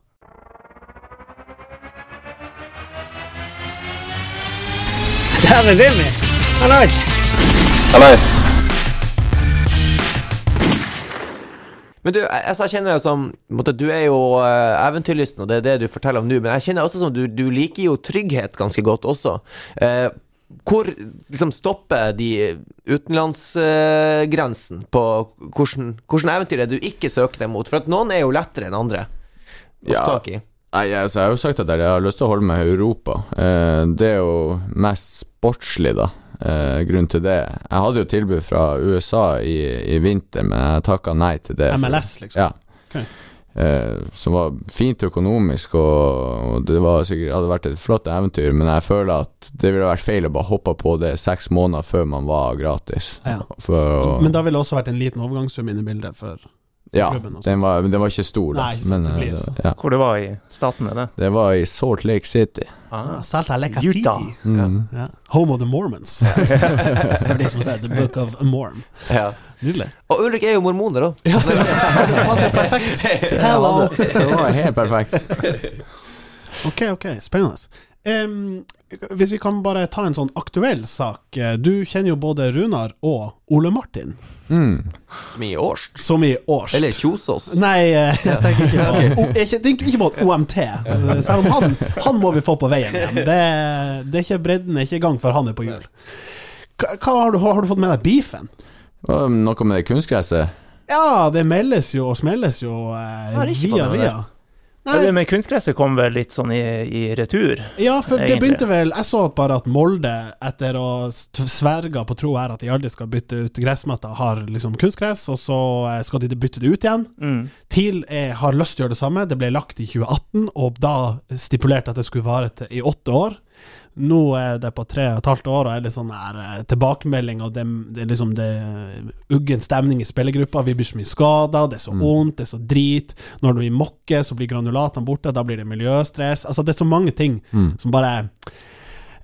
[SPEAKER 3] Der er Remi! Hallais!
[SPEAKER 2] Men du, jeg, altså, jeg kjenner deg som på en måte, Du er jo eh, eventyrlysten, og det er det du forteller om nå. Men jeg kjenner også som du, du liker jo trygghet ganske godt også. Eh, hvor liksom stopper de utenlandsgrensen på hvordan, hvordan eventyr er du ikke søker deg mot? For at noen er jo lettere enn andre å få
[SPEAKER 4] Ja.
[SPEAKER 2] tak i.
[SPEAKER 4] Nei, altså, jeg har jo sagt at jeg har lyst til å holde meg i Europa. Eh, det er jo mest sportslig, da. Eh, grunn til det. Jeg hadde jo tilbud fra USA i, i vinter, men jeg takka nei til det. for-
[SPEAKER 3] MLS, liksom.
[SPEAKER 4] Ja.
[SPEAKER 3] Ok.
[SPEAKER 4] Eh, som var fint økonomisk, og, og det var sikkert, hadde vært et flott eventyr, men jeg føler at det ville vært feil å bare hoppe på det seks måneder før man var gratis.
[SPEAKER 3] Ja.
[SPEAKER 4] For, å-
[SPEAKER 3] Men da ville det også vært en liten overgangssum inne i bildet, for
[SPEAKER 4] ja,
[SPEAKER 3] klubben også.
[SPEAKER 4] den var, men den var ikke stor, da.
[SPEAKER 3] Nei, ikke sant,
[SPEAKER 4] men,
[SPEAKER 3] det blir
[SPEAKER 4] eh,
[SPEAKER 3] det
[SPEAKER 4] ja.
[SPEAKER 1] Hvor det var i statene, det.
[SPEAKER 4] det var i Salt Lake City.
[SPEAKER 1] Ah.
[SPEAKER 3] Salta Lekka
[SPEAKER 1] Utah.
[SPEAKER 3] City.
[SPEAKER 4] Mm.
[SPEAKER 3] Ja. Home of the Mormons.
[SPEAKER 1] <laughs>
[SPEAKER 3] For de som sier The Book of Morm.
[SPEAKER 2] Ja.
[SPEAKER 3] Nydelig.
[SPEAKER 2] Og Ulrik er jo mormoner
[SPEAKER 3] <laughs>
[SPEAKER 2] òg.
[SPEAKER 3] Ja, det passer jo perfekt. Hello!
[SPEAKER 4] <laughs> Det var helt perfekt.
[SPEAKER 3] Ok, ok, spennende. Em, hvis vi kan bare ta en sånn aktuell sak. Eh, Du kjenner jo både Runar og Ole Martin,
[SPEAKER 4] Mm.
[SPEAKER 2] Som i Årst.
[SPEAKER 3] som i års.
[SPEAKER 2] Eller Kjosås.
[SPEAKER 3] Nei, eh, jeg tenker ikke på, o, jeg tenker ikke på et OMT. eh, Selv om han, han må vi få på veien igjen. Det, det er ikke bredden er ikke i gang før han er på hjul. Hva, hva har, du, har du fått med deg beefen?
[SPEAKER 4] Og Noe med det kunstgresset.
[SPEAKER 3] Ja, det meldes jo og smelles jo eh,
[SPEAKER 2] har ikke fått
[SPEAKER 3] via
[SPEAKER 2] med meg det.
[SPEAKER 3] via. Nei,
[SPEAKER 1] Men kunstgresset kom vel litt sånn i, i retur.
[SPEAKER 3] Ja, for det
[SPEAKER 1] Egentlig.
[SPEAKER 3] begynte vel Jeg så bare at Molde, etter å st- sverge på tro her at de aldri skal bytte ut gressmatta, har liksom kunstgress, og så eh, skal de bytte det ut igjen.
[SPEAKER 1] Mm.
[SPEAKER 3] TIL eh, har lyst til å gjøre det samme. Det ble lagt i 2018, og da stipulert at det skulle vare til, i åtte år. Nå er det på tre og et halvt år, og er litt sånn her eh, tilbakemelding, og det, det er liksom det er uggen stemning i spillergruppa. Vi blir så mye skada, det er så vondt, det er så drit. Når vi Mm. mokker, så blir granulatene borte, da blir det miljøstress. Altså, det er så mange ting som bare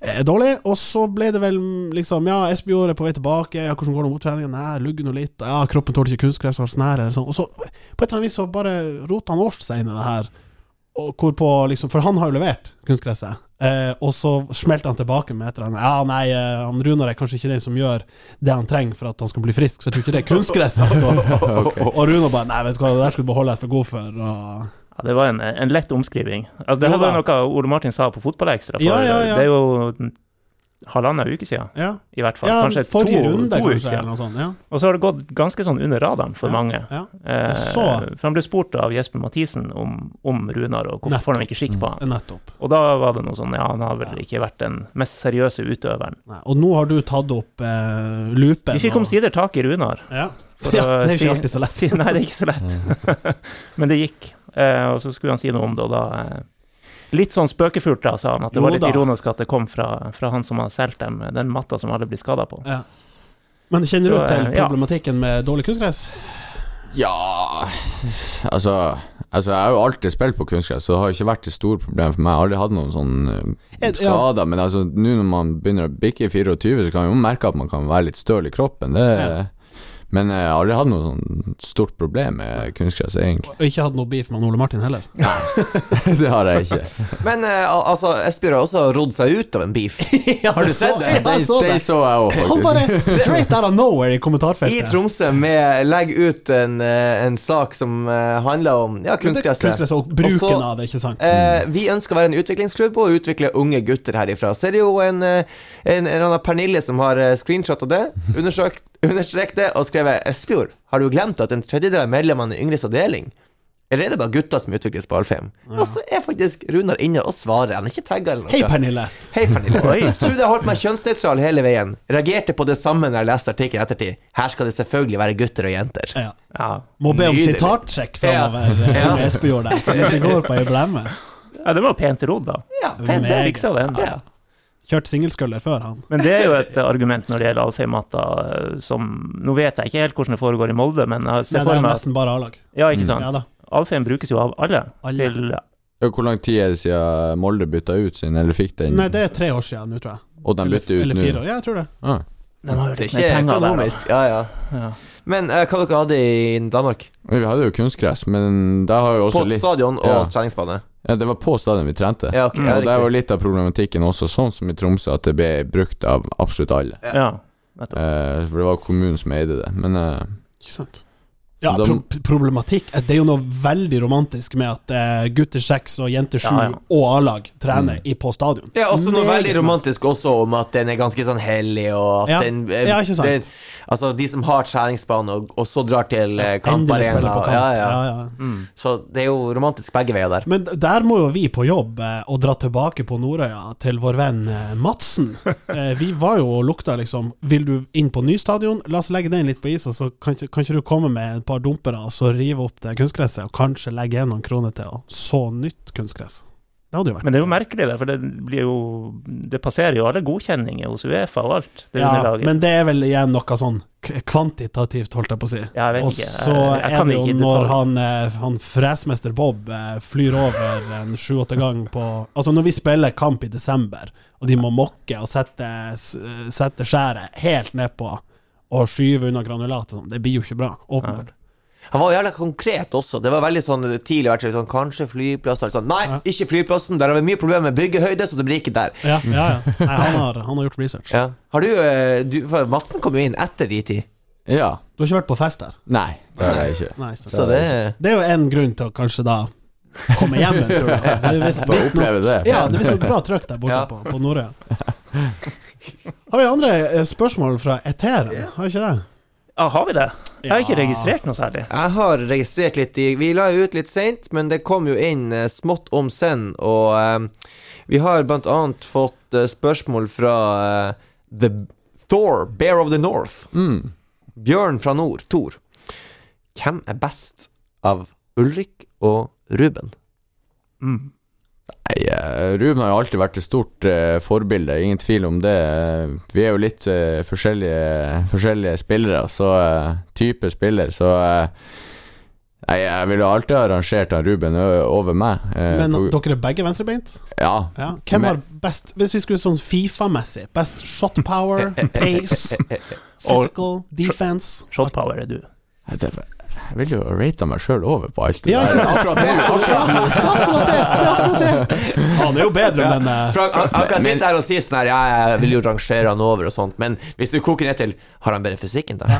[SPEAKER 3] eh, dårlig. Og så ble det vel mm, liksom Ja, Espejord er på vei tilbake. Ja, hvordan går det med opptreningen? Nei, lugger nå litt. Ja, kroppen tåler ikke kunstgress og snære. Eller sånn. Og så, på et eller annet vis, så bare roter han Årst seg inn i det her. Og hvorpå liksom For han har jo levert kunstgresset. Eh, og så smelter han tilbake med et eller annet. Ja, nei, eh, han Runar er kanskje ikke den som gjør det han trenger for at han skal bli frisk, så jeg tror ikke det er kunstgress han
[SPEAKER 1] <laughs>
[SPEAKER 3] står på. Og Runar bare Nei, vet du hva, det der skulle du beholde deg for god for. Og
[SPEAKER 1] Ja, det var en, en lett omskriving. Altså, det
[SPEAKER 3] Ja
[SPEAKER 1] hadde
[SPEAKER 3] da.
[SPEAKER 1] noe Ole Martin sa på Fotballekstra, for
[SPEAKER 3] Ja, ja, ja.
[SPEAKER 1] det er jo halvannen uke siden,
[SPEAKER 3] Ja,
[SPEAKER 1] i hvert fall.
[SPEAKER 3] ja
[SPEAKER 1] kanskje to,
[SPEAKER 3] forrige runde,
[SPEAKER 1] to uker
[SPEAKER 3] kanskje. Eller
[SPEAKER 1] siden.
[SPEAKER 3] noe sånt, ja.
[SPEAKER 1] Og så har det gått ganske sånn under radaren for
[SPEAKER 3] Ja,
[SPEAKER 1] mange.
[SPEAKER 3] ja.
[SPEAKER 1] Eh,
[SPEAKER 3] så-
[SPEAKER 1] for han ble spurt av Jesper Mathisen om, om Runar, og hvorfor får de ikke skikk på han.
[SPEAKER 3] Nettopp.
[SPEAKER 1] Og da var det noe sånn, ja, han har vel
[SPEAKER 3] Ja.
[SPEAKER 1] ikke vært den mest seriøse utøveren.
[SPEAKER 3] Nei, og nå har du tatt opp eh, loopen.
[SPEAKER 1] Vi fikk
[SPEAKER 3] og-
[SPEAKER 1] omsider tak i Runar.
[SPEAKER 3] Ja.
[SPEAKER 1] for
[SPEAKER 3] <laughs> ja,
[SPEAKER 1] å
[SPEAKER 3] det er ikke
[SPEAKER 1] si-
[SPEAKER 3] alltid så lett. Mm.
[SPEAKER 1] si- Nei, det er ikke så lett. <laughs> Men det gikk. Eh, og så skulle han si noe om det, og da eh, Litt sånn spøkefullt, da, sa han. At det
[SPEAKER 3] Jo
[SPEAKER 1] var litt
[SPEAKER 3] da.
[SPEAKER 1] ironisk at det kom fra, fra han som har solgt dem den matta som alle blir skada på.
[SPEAKER 3] Ja. Men kjenner
[SPEAKER 1] Så,
[SPEAKER 3] du til
[SPEAKER 1] eh, ja.
[SPEAKER 3] problematikken med dårlig kunstgress?
[SPEAKER 4] Ja Altså, altså jeg har jo alltid spilt på kunstgress, så det har jo ikke vært et stort problem for meg. Jeg har aldri hatt noen sånn eh,
[SPEAKER 3] Ja.
[SPEAKER 4] skader. Men altså, nå når man begynner å bikke 24, så kan man jo merke at man kan være litt støl i kroppen. Det, Men eh, jeg har aldri hatt noe sånn stort problem med kunstgress,
[SPEAKER 3] <laughs>
[SPEAKER 4] egentlig.
[SPEAKER 3] Og ikke hatt noe beef med Ole Martin heller?
[SPEAKER 4] det har jeg ikke.
[SPEAKER 2] Men eh, al- altså, Espejord har også rodd seg ut av en beef.
[SPEAKER 3] ja,
[SPEAKER 2] Har du
[SPEAKER 3] så-
[SPEAKER 2] sett det?
[SPEAKER 3] Ja, jeg så
[SPEAKER 4] det,
[SPEAKER 3] det.
[SPEAKER 4] så jeg
[SPEAKER 3] <laughs>
[SPEAKER 4] òg,
[SPEAKER 3] Han
[SPEAKER 4] faktisk.
[SPEAKER 3] bare straight out of nowhere i
[SPEAKER 2] I
[SPEAKER 3] kommentarfeltet.
[SPEAKER 2] Tromsø med Legg ut en, eh, en sak som eh, handler om ja,
[SPEAKER 3] Men det-
[SPEAKER 2] kunstgresset.
[SPEAKER 3] Kunstgress og
[SPEAKER 2] Og
[SPEAKER 3] bruken
[SPEAKER 2] så-
[SPEAKER 3] av Mm. det, ikke sant?
[SPEAKER 2] Eh, vi ønsker å være en utviklingsklubb og utvikle unge gutter herifra. Ser jo en, eh, en, en eller annen Pernille som har eh, screenshot av det, undersøkt, <laughs> understreket det og skrevet Espejord, har du glemt at en tredjedel av medlemmene i Yngres avdeling eller er det bare gutter som utvikles på Alfheim? Og så er faktisk Runar inne og svarer. Han er ikke tagga eller noe.
[SPEAKER 3] Hei, Pernille.
[SPEAKER 2] Hei, Pernille.
[SPEAKER 1] Oi.
[SPEAKER 2] Trodde jeg holdt meg kjønnsnøytral hele veien. Reagerte på det samme når jeg leste artikkelen i ettertid. Her skal det selvfølgelig være gutter og jenter.
[SPEAKER 3] Ja.
[SPEAKER 1] Ja.
[SPEAKER 3] Må be om
[SPEAKER 2] Nydelig.
[SPEAKER 3] sitatsjekk framover eh,
[SPEAKER 2] Ja.
[SPEAKER 3] med Espejord der, så det ikke går på ei blemme.
[SPEAKER 1] ja, det var pent rodd, da.
[SPEAKER 2] Ja,
[SPEAKER 3] Meget.
[SPEAKER 2] pent.
[SPEAKER 1] Jeg fiksa den.
[SPEAKER 2] Ja.
[SPEAKER 3] Kjørt singelsculler før, han.
[SPEAKER 1] Men det er jo et eh, argument når det gjelder Alfheim-matta, eh, som Nå vet jeg ikke helt hvordan det foregår i Molde, men jeg
[SPEAKER 3] Nei,
[SPEAKER 1] ser
[SPEAKER 3] det
[SPEAKER 1] for
[SPEAKER 3] er
[SPEAKER 1] meg at
[SPEAKER 3] nesten bare A-lag.
[SPEAKER 1] Ja, ikke
[SPEAKER 3] Ja
[SPEAKER 1] sant?
[SPEAKER 3] da.
[SPEAKER 1] Alfheim brukes jo av alle,
[SPEAKER 3] Alle.
[SPEAKER 1] til
[SPEAKER 4] Ja, Hvor lang tid er det siden Molde bytta ut sin, eller fikk den?
[SPEAKER 3] Nei, det er tre år siden nå, tror jeg.
[SPEAKER 4] og de
[SPEAKER 3] Eller,
[SPEAKER 4] bytter ut
[SPEAKER 3] eller fire
[SPEAKER 4] nå?
[SPEAKER 3] år. Ja, jeg tror det.
[SPEAKER 4] Ah.
[SPEAKER 1] De har jo
[SPEAKER 2] Det er
[SPEAKER 1] litt
[SPEAKER 2] ikke
[SPEAKER 1] mer penger der, da.
[SPEAKER 2] økonomisk. Ja, ja.
[SPEAKER 1] Ja.
[SPEAKER 2] Men eh, hva dere hadde i Danmark?
[SPEAKER 4] Men Vi hadde jo kunstgress, men der har jo
[SPEAKER 2] På
[SPEAKER 4] også litt
[SPEAKER 2] stadion og
[SPEAKER 4] ja.
[SPEAKER 2] treningsbane?
[SPEAKER 4] ja, Det var på stadion vi trente.
[SPEAKER 2] Ja, ok,
[SPEAKER 1] Mm,
[SPEAKER 2] ja,
[SPEAKER 4] og der var
[SPEAKER 2] riktig.
[SPEAKER 4] litt av problematikken også, sånn som i Tromsø, at det ble brukt av absolutt alle.
[SPEAKER 2] Ja.
[SPEAKER 1] Ja.
[SPEAKER 4] Eh, for det var kommunen som eide det. Men eh,
[SPEAKER 3] Ikke sant. Ja,
[SPEAKER 4] Da-
[SPEAKER 3] pro problematikk eh, Det er jo noe veldig romantisk med at eh, gutter seks og jenter sju
[SPEAKER 1] Ja, ja.
[SPEAKER 3] og A-lag
[SPEAKER 4] Mm.
[SPEAKER 3] trener i, på stadion.
[SPEAKER 2] Ja, også noe
[SPEAKER 3] Meget
[SPEAKER 2] veldig
[SPEAKER 3] masse.
[SPEAKER 2] romantisk også om at den er ganske sånn hellig, og at
[SPEAKER 3] Ja.
[SPEAKER 2] den eh,
[SPEAKER 3] Ja, ikke sant.
[SPEAKER 2] Den, Altså, de som har treningsbane, og, og så drar til eh,
[SPEAKER 3] Endelig spiller
[SPEAKER 2] kamparena.
[SPEAKER 3] på kamp.
[SPEAKER 2] Ja, ja.
[SPEAKER 3] Ja, ja.
[SPEAKER 1] Mm.
[SPEAKER 2] Så det er jo romantisk begge veier der.
[SPEAKER 3] Men d- der må jo vi på jobb eh, og dra tilbake på Nordøya til vår venn
[SPEAKER 1] <laughs>
[SPEAKER 3] eh, Madsen. Eh, vi var jo og lukta liksom Vil du inn på ny stadion? La oss legge den litt på is, og så kan, ikke- kan ikke du komme med et par dumpere og så rive opp det kunstgresset, og kanskje legge igjen noen kroner til, og så nytt kunstgress. Det hadde jo vært
[SPEAKER 1] Men det er jo merkelig, det, for det blir jo Det passerer jo alle godkjenninger hos Uefa og alt, det
[SPEAKER 3] Ja,
[SPEAKER 1] underlaget.
[SPEAKER 3] men det er vel igjen noe sånn k- kvantitativt, holdt jeg på å si.
[SPEAKER 1] Ja, jeg vet
[SPEAKER 3] Og
[SPEAKER 1] ikke. Jeg-
[SPEAKER 3] så
[SPEAKER 1] jeg
[SPEAKER 3] er
[SPEAKER 1] kan
[SPEAKER 3] det jo
[SPEAKER 1] ikke i
[SPEAKER 3] når
[SPEAKER 1] detalj.
[SPEAKER 3] han, eh, han fresmester Bob eh, flyr over en sju-åtte gang på Altså, når vi spiller kamp i desember, og de må mokke og sette, s- sette skjæret helt nedpå og skyve unna granulat og sånn, det blir jo ikke bra. Åpenbart.
[SPEAKER 2] Han var jo jævla konkret også. Det var veldig sånn tidlig vært sånn Kanskje flyplass eller sånn. Nei,
[SPEAKER 3] Ja.
[SPEAKER 2] ikke flyplassen. Der har vi mye problemer med byggehøyde, så det blir ikke der.
[SPEAKER 3] Ja, ja. ja. Nei, han har, han har gjort research.
[SPEAKER 2] Ja. Har du, eh, du for Madsen kom jo inn etter de tid,
[SPEAKER 4] ja.
[SPEAKER 3] Du har ikke vært på fest der?
[SPEAKER 4] Nei, det har jeg ikke.
[SPEAKER 3] Nei, så-
[SPEAKER 2] så det
[SPEAKER 3] det er jo én grunn til å kanskje da komme hjem en
[SPEAKER 4] <laughs>
[SPEAKER 3] tur. da. Det er visst-
[SPEAKER 4] Bare
[SPEAKER 3] visst nok-
[SPEAKER 4] oppleve det.
[SPEAKER 3] Ja, det er visstnok bra trøkk der borte
[SPEAKER 2] Ja.
[SPEAKER 3] på, på Nordøya. Har vi andre eh, spørsmål fra Eteren? Har vi ikke det?
[SPEAKER 1] Ja, har vi det? Jeg har ikke
[SPEAKER 3] Ja.
[SPEAKER 1] registrert noe særlig.
[SPEAKER 2] Jeg har registrert litt i Vi la jo ut litt seint, men det kom jo inn eh, smått om senn, og eh, vi har blant annet fått eh, spørsmål fra eh, The Thor, Bear of the North.
[SPEAKER 4] Mm.
[SPEAKER 2] Bjørn fra nord, Thor. Hvem er best av Ulrik og Ruben?
[SPEAKER 1] Mm.
[SPEAKER 4] Nei, eh, Ruben har jo alltid vært et stort eh, forbilde, ingen tvil om det. Eh, Vi er jo litt eh, forskjellige, forskjellige spillere, så eh, type spiller, så eh, Nei, jeg ville alltid ha rangert han Ruben ø- over meg. eh,
[SPEAKER 3] Men
[SPEAKER 4] på-
[SPEAKER 3] dere er begge venstrebeint?
[SPEAKER 4] ja.
[SPEAKER 3] Ja. Hvem
[SPEAKER 4] Men-
[SPEAKER 3] har best Hvis vi skulle sånn Fifa-messig Best shot power,
[SPEAKER 4] <laughs>
[SPEAKER 3] pace, physical, defense
[SPEAKER 1] Shotpower er du.
[SPEAKER 4] Jeg vet- jeg ville jo rata meg sjøl over på alt det
[SPEAKER 3] Ja, ikke
[SPEAKER 4] der.
[SPEAKER 3] sant?
[SPEAKER 4] Akkurat nå.
[SPEAKER 3] Akkurat det! det er akkurat det. Han er jo bedre, men eh,
[SPEAKER 2] Frank, han, han kan
[SPEAKER 4] Men-
[SPEAKER 2] sitte her og si sånn her Ja, jeg vil jo rangere han over og sånt, men hvis du koker ned til Har han bedre fysikk enn deg?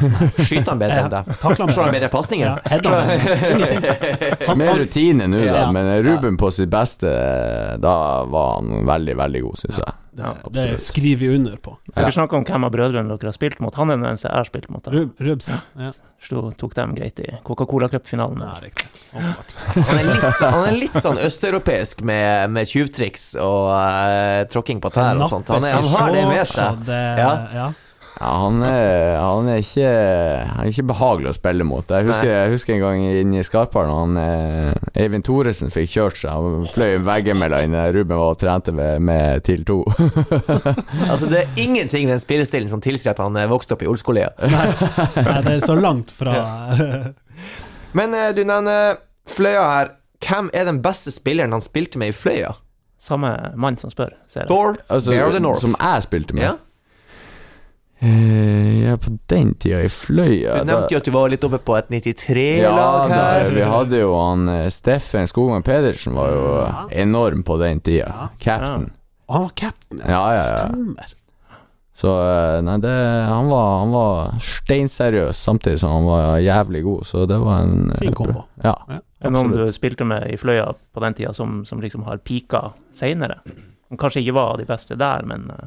[SPEAKER 2] Skyter han bedre enn deg?
[SPEAKER 3] Takler han
[SPEAKER 2] Slår han
[SPEAKER 3] bedre?
[SPEAKER 2] bedre pasninger?
[SPEAKER 3] ja, header han. Ingenting. <laughs> Han,
[SPEAKER 4] Mer
[SPEAKER 3] han,
[SPEAKER 4] rutine nå, da.
[SPEAKER 3] Ja.
[SPEAKER 4] Men eh, Ruben på sitt beste, eh, da var han veldig, veldig god, syns jeg.
[SPEAKER 1] Ja.
[SPEAKER 3] det
[SPEAKER 4] Absolutt.
[SPEAKER 3] skriver vi under på.
[SPEAKER 1] Dere
[SPEAKER 4] Ja.
[SPEAKER 1] snakker om hvem av brødrene dere har spilt mot. Han er den eneste jeg har spilt mot. da.
[SPEAKER 3] Rub, rubs. Ja.
[SPEAKER 1] Slo, tok dem greit i Coca-Cola Cup-finalen.
[SPEAKER 3] Ja,
[SPEAKER 1] der.
[SPEAKER 3] riktig. Åpenbart.
[SPEAKER 2] Han er litt, sånn- han er litt sånn østeuropeisk med, med tjuvtriks og eh, tråkking på tær og sånt. Han, er, han har det med seg.
[SPEAKER 3] Så det-
[SPEAKER 2] Ja.
[SPEAKER 3] ja.
[SPEAKER 4] Ja, han er, han er ikke Han er ikke behagelig å spille mot. Jeg husker, jeg husker en gang inne i Skarparen Han eh, Eivind Thoresen fikk kjørt seg. Han fløy veggimellom inne. Ruben var og trente med, med TIL 2.
[SPEAKER 2] Altså, det er ingenting ved den spillestilen som tilsier at han eh, vokste opp i Olskolea.
[SPEAKER 3] Nei, det er så langt fra
[SPEAKER 2] Men eh, du nevner Fløya her. Hvem er den beste spilleren han spilte med i Fløya?
[SPEAKER 1] Samme mann som spør, ser jeg.
[SPEAKER 2] Thor,
[SPEAKER 4] <laughs> Altså,
[SPEAKER 2] Bear of the North.
[SPEAKER 4] som jeg spilte med.
[SPEAKER 2] ja?
[SPEAKER 4] Eh, ja på den tida i Fløya
[SPEAKER 2] Du nevnte jo at du var litt oppe på et
[SPEAKER 4] ja,
[SPEAKER 2] 93-lag
[SPEAKER 4] da,
[SPEAKER 2] her.
[SPEAKER 4] vi hadde jo han eh, Steffen Skogman Pedersen var jo eh,
[SPEAKER 3] Ja.
[SPEAKER 4] enorm på den tida. Captain.
[SPEAKER 3] Og <laughs> han var cap'n, ja.
[SPEAKER 4] Ja, ja, ja.
[SPEAKER 3] Stemmer.
[SPEAKER 4] Så eh, nei, det, han, var, han var steinseriøs samtidig som han var jævlig god, så det var en eh,
[SPEAKER 3] Fin kombo.
[SPEAKER 4] bra- Ja.
[SPEAKER 1] Er det noen du
[SPEAKER 4] absolutt.
[SPEAKER 1] spilte med i Fløya på den tida, som, som liksom har pika seinere? Som kanskje ikke var av de beste der, men eh,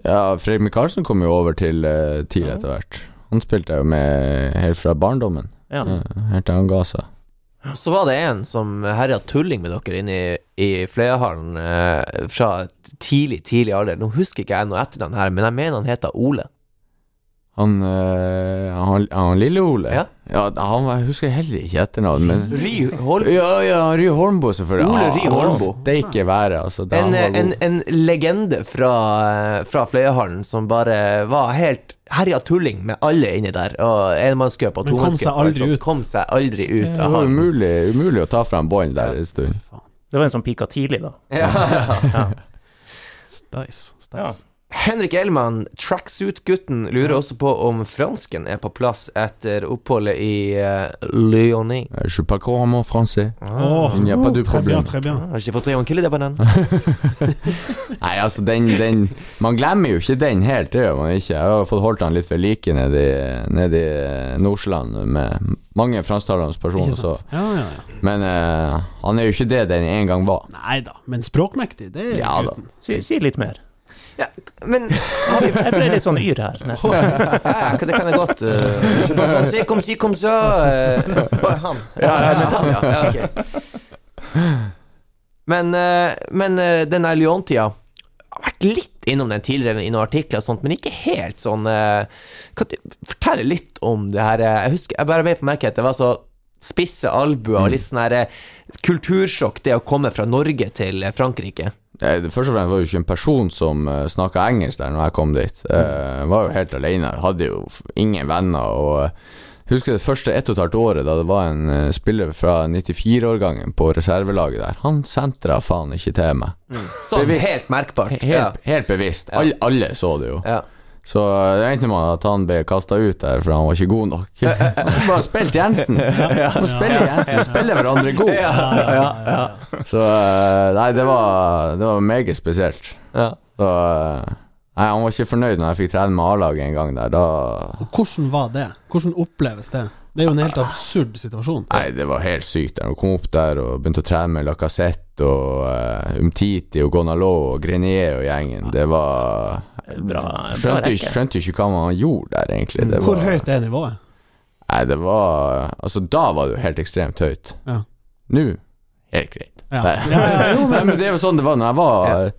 [SPEAKER 4] ja, Fredrik Michaelsen kom jo over til uh, TIL etter hvert. Han spilte jeg jo med helt fra barndommen,
[SPEAKER 1] ja.
[SPEAKER 4] eh, helt til han ga seg.
[SPEAKER 2] Så var det en som herja tulling med dere inne i, i Fløyahallen eh, fra et tidlig, tidlig alder. Nå husker ikke jeg noe etternavn her, men jeg mener han heter Ole.
[SPEAKER 4] Han, eh, han, han lille Ole?
[SPEAKER 2] Ja.
[SPEAKER 4] han var, Jeg husker heller ikke etternavn, men
[SPEAKER 2] Ry Holm.
[SPEAKER 4] Ja, ja, Ry Holmbo, selvfølgelig. Ah,
[SPEAKER 2] Ole Ry
[SPEAKER 4] Han- han
[SPEAKER 2] Holmbo.
[SPEAKER 4] Steike været, altså. Da
[SPEAKER 2] En, eh,
[SPEAKER 4] han var
[SPEAKER 2] en,
[SPEAKER 4] god.
[SPEAKER 2] en legende fra, eh, fra Fløyahallen som bare var helt herja tulling med alle inni der. Og enmannscup og
[SPEAKER 3] Men kom
[SPEAKER 2] tomannscup.
[SPEAKER 3] seg
[SPEAKER 2] og alt
[SPEAKER 3] aldri
[SPEAKER 2] sånt.
[SPEAKER 3] ut.
[SPEAKER 2] Kom seg aldri ut
[SPEAKER 4] det
[SPEAKER 2] av
[SPEAKER 4] var
[SPEAKER 2] hallen.
[SPEAKER 4] umulig, umulig å ta fra en bånd der en stund.
[SPEAKER 3] Faen.
[SPEAKER 1] Det var en som pika tidlig, da.
[SPEAKER 2] Ja. <laughs>
[SPEAKER 3] Steis.
[SPEAKER 1] Ja.
[SPEAKER 3] Steis.
[SPEAKER 2] Henrik Elman, tracksuit-gutten, lurer også på om fransken er på plass etter oppholdet i uh, Lyonnais.
[SPEAKER 4] Eh, Je suis pas grand, mon français.
[SPEAKER 3] Åh,
[SPEAKER 4] Il n'y a pas de
[SPEAKER 3] très bien,
[SPEAKER 4] problème.
[SPEAKER 3] très bien.
[SPEAKER 2] Ah, Har ikke fått triankille, det <laughs> banan.
[SPEAKER 4] Nei, altså, den, den Man glemmer jo ikke den helt, det gjør man ikke. Jeg har fått holdt han litt ved like nede i, nede i Nordsjøland med mange fransktalende personer,
[SPEAKER 3] Ikke
[SPEAKER 4] så
[SPEAKER 3] sant? Ja, ja, ja.
[SPEAKER 4] Men eh, han er jo ikke det den en gang var.
[SPEAKER 3] Nei da, men språkmektig, det er
[SPEAKER 4] Ja da.
[SPEAKER 3] gutten.
[SPEAKER 1] Si, si litt mer.
[SPEAKER 2] Ja, men
[SPEAKER 1] Jeg ble litt sånn yr her. Nei.
[SPEAKER 2] ja, Det kan jeg godt. eh, je parle français comme si, comme ça. eh, bare han. Ja, han, ja, ja, ok. Men, eh, men eh, den der Lyon-tida har vært litt innom den tidligere i noen artikler og sånt, men ikke helt sånn eh, Kan du fortelle litt om det her eh, Jeg husker, jeg bare vet på merket at det var så spisse albuer og litt sånn her eh, kultursjokk, det å komme fra Norge til eh, Frankrike.
[SPEAKER 4] Eh, det- Først og fremst var det jo ikke en person som uh, snakka engelsk der når jeg kom dit. Eh, var jo helt alene, hadde jo f- ingen venner. Og eh, husker det første ett og et halvt året da det var en eh, spiller fra 94-årgangen på reservelaget der. Han sentra faen ikke til meg.
[SPEAKER 2] Sånn
[SPEAKER 4] Bevisst.
[SPEAKER 2] helt merkbart.
[SPEAKER 4] Helt,
[SPEAKER 2] Ja.
[SPEAKER 4] helt bevisst. All, alle så det jo.
[SPEAKER 2] Ja.
[SPEAKER 4] Så eh, det endte med at han ble kasta ut der, for han var ikke <laughs> god nok. Han skulle bare spilt Jensen! Han spiller Jensen, spiller hverandre god! Så eh, Nei, det var, det var meget spesielt.
[SPEAKER 2] Ja.
[SPEAKER 4] Så, eh, nei, han var ikke fornøyd når jeg fikk trene med A-laget en gang der. Da
[SPEAKER 3] Og hvordan var det? Hvordan oppleves det? Det er jo en helt absurd situasjon.
[SPEAKER 4] Nei, det var helt sykt. der. Han kom opp der og begynte å trene med Lacassette og eh, Umtiti og Gonalo og Grenier og gjengen. Det var
[SPEAKER 1] Bra, bra
[SPEAKER 4] Skjønte ikke,
[SPEAKER 1] rekke.
[SPEAKER 4] skjønte ikke hva man gjorde der, egentlig. Det
[SPEAKER 3] Mm. Hvor
[SPEAKER 4] var,
[SPEAKER 3] høyt er nivået?
[SPEAKER 4] Nei, det var Altså, da var det jo helt ekstremt høyt.
[SPEAKER 3] Ja.
[SPEAKER 4] Nå helt greit.
[SPEAKER 3] Ja.
[SPEAKER 4] Nei.
[SPEAKER 3] Ja, ja, jo,
[SPEAKER 4] Nei,
[SPEAKER 3] men
[SPEAKER 4] men det er jo sånn det var Når jeg var eh,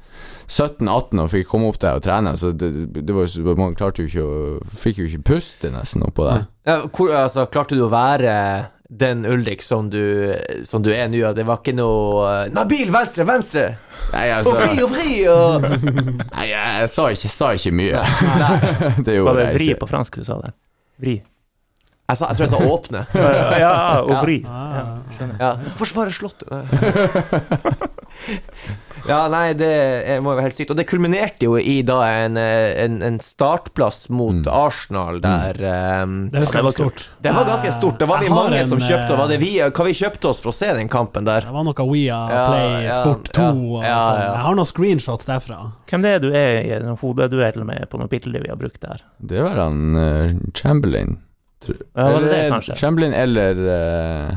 [SPEAKER 4] 17-18 og fikk komme opp der og trene, så det, det var, jo så- man klarte jo ikke å Fikk jo ikke puste nesten oppå der.
[SPEAKER 2] Ja, hvor, altså, klarte du å være den Ulrik som du, som du er nå? at Det var ikke noe eh, Nabil, venstre, venstre!
[SPEAKER 4] Nei,
[SPEAKER 2] Og
[SPEAKER 4] altså,
[SPEAKER 2] fri og fri! Og...
[SPEAKER 4] nei jeg, jeg sa ikke, sa ikke mye. <laughs> det
[SPEAKER 1] Var
[SPEAKER 4] gjorde
[SPEAKER 1] det
[SPEAKER 4] jeg
[SPEAKER 1] vri
[SPEAKER 4] ikke.
[SPEAKER 1] på fransk du sa der? Vri. <laughs>
[SPEAKER 2] Jeg, sa, jeg tror jeg sa åpne.
[SPEAKER 1] Ja, Aubry. Ja.
[SPEAKER 3] Ah,
[SPEAKER 2] Ja. Forsvare slottet! Nei. ja, nei, det er- må jo være helt sykt. Og det kulminerte jo i da en, eh, en, en startplass
[SPEAKER 3] Mm.
[SPEAKER 2] mot Arsenal der eh,
[SPEAKER 3] Det husker
[SPEAKER 1] Ja, det
[SPEAKER 3] jeg
[SPEAKER 1] var
[SPEAKER 3] var stort.
[SPEAKER 2] Det var ganske stort. Det var vi
[SPEAKER 3] Jeg har
[SPEAKER 2] mange som
[SPEAKER 3] en, eh,
[SPEAKER 2] kjøpte, og var det vi, eh, hva vi kjøpte oss for å se den kampen der?
[SPEAKER 3] Det var noe Wea
[SPEAKER 2] Ja,
[SPEAKER 3] Play
[SPEAKER 2] ja,
[SPEAKER 3] Sport 2.
[SPEAKER 2] ja,
[SPEAKER 3] og
[SPEAKER 2] ja,
[SPEAKER 3] sånn.
[SPEAKER 2] ja.
[SPEAKER 3] Jeg har noen screenshots derfra.
[SPEAKER 1] Hvem det er du er i en hodeduell med på noe bilde vi har brukt der?
[SPEAKER 4] Det er vel han eh, Chamberlain.
[SPEAKER 1] Ja, var det det,
[SPEAKER 4] Eller
[SPEAKER 1] kanskje?
[SPEAKER 4] Chamberlain eller eh,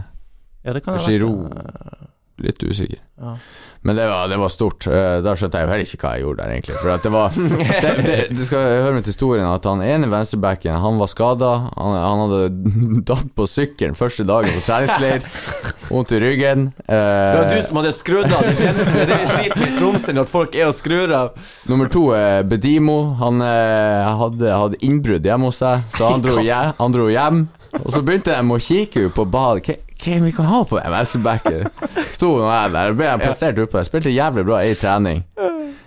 [SPEAKER 1] Ja, det kan ha vært,
[SPEAKER 4] Giroud.
[SPEAKER 1] eh,
[SPEAKER 4] Litt usikker.
[SPEAKER 1] Ja.
[SPEAKER 4] Men det var, det var stort. Eh, Da skjønte jeg jo heller ikke hva jeg gjorde der, egentlig. For at
[SPEAKER 2] <laughs>
[SPEAKER 4] det var Det, det, det skal høre med til historien at han ene venstrebacken Han var skada. Han, han hadde <laughs> datt på sykkelen første dagen på
[SPEAKER 2] <laughs>
[SPEAKER 4] treningsleir. Vondt i ryggen.
[SPEAKER 2] Det
[SPEAKER 4] Eh,
[SPEAKER 2] var du som hadde skrudd av den grensen. Det er sliten i Tromsø at folk er og skrur av.
[SPEAKER 4] Nummer to er Bedimo. Han eh, hadde, hadde innbrudd hjemme hos seg, så han dro, hjem, han dro hjem. Og så begynte de å kikke ut på bad. Hva hva vi kan ha på MS-backen? Sto nå jeg der, ble jeg plassert oppe. Jeg spilte jævlig bra i trening.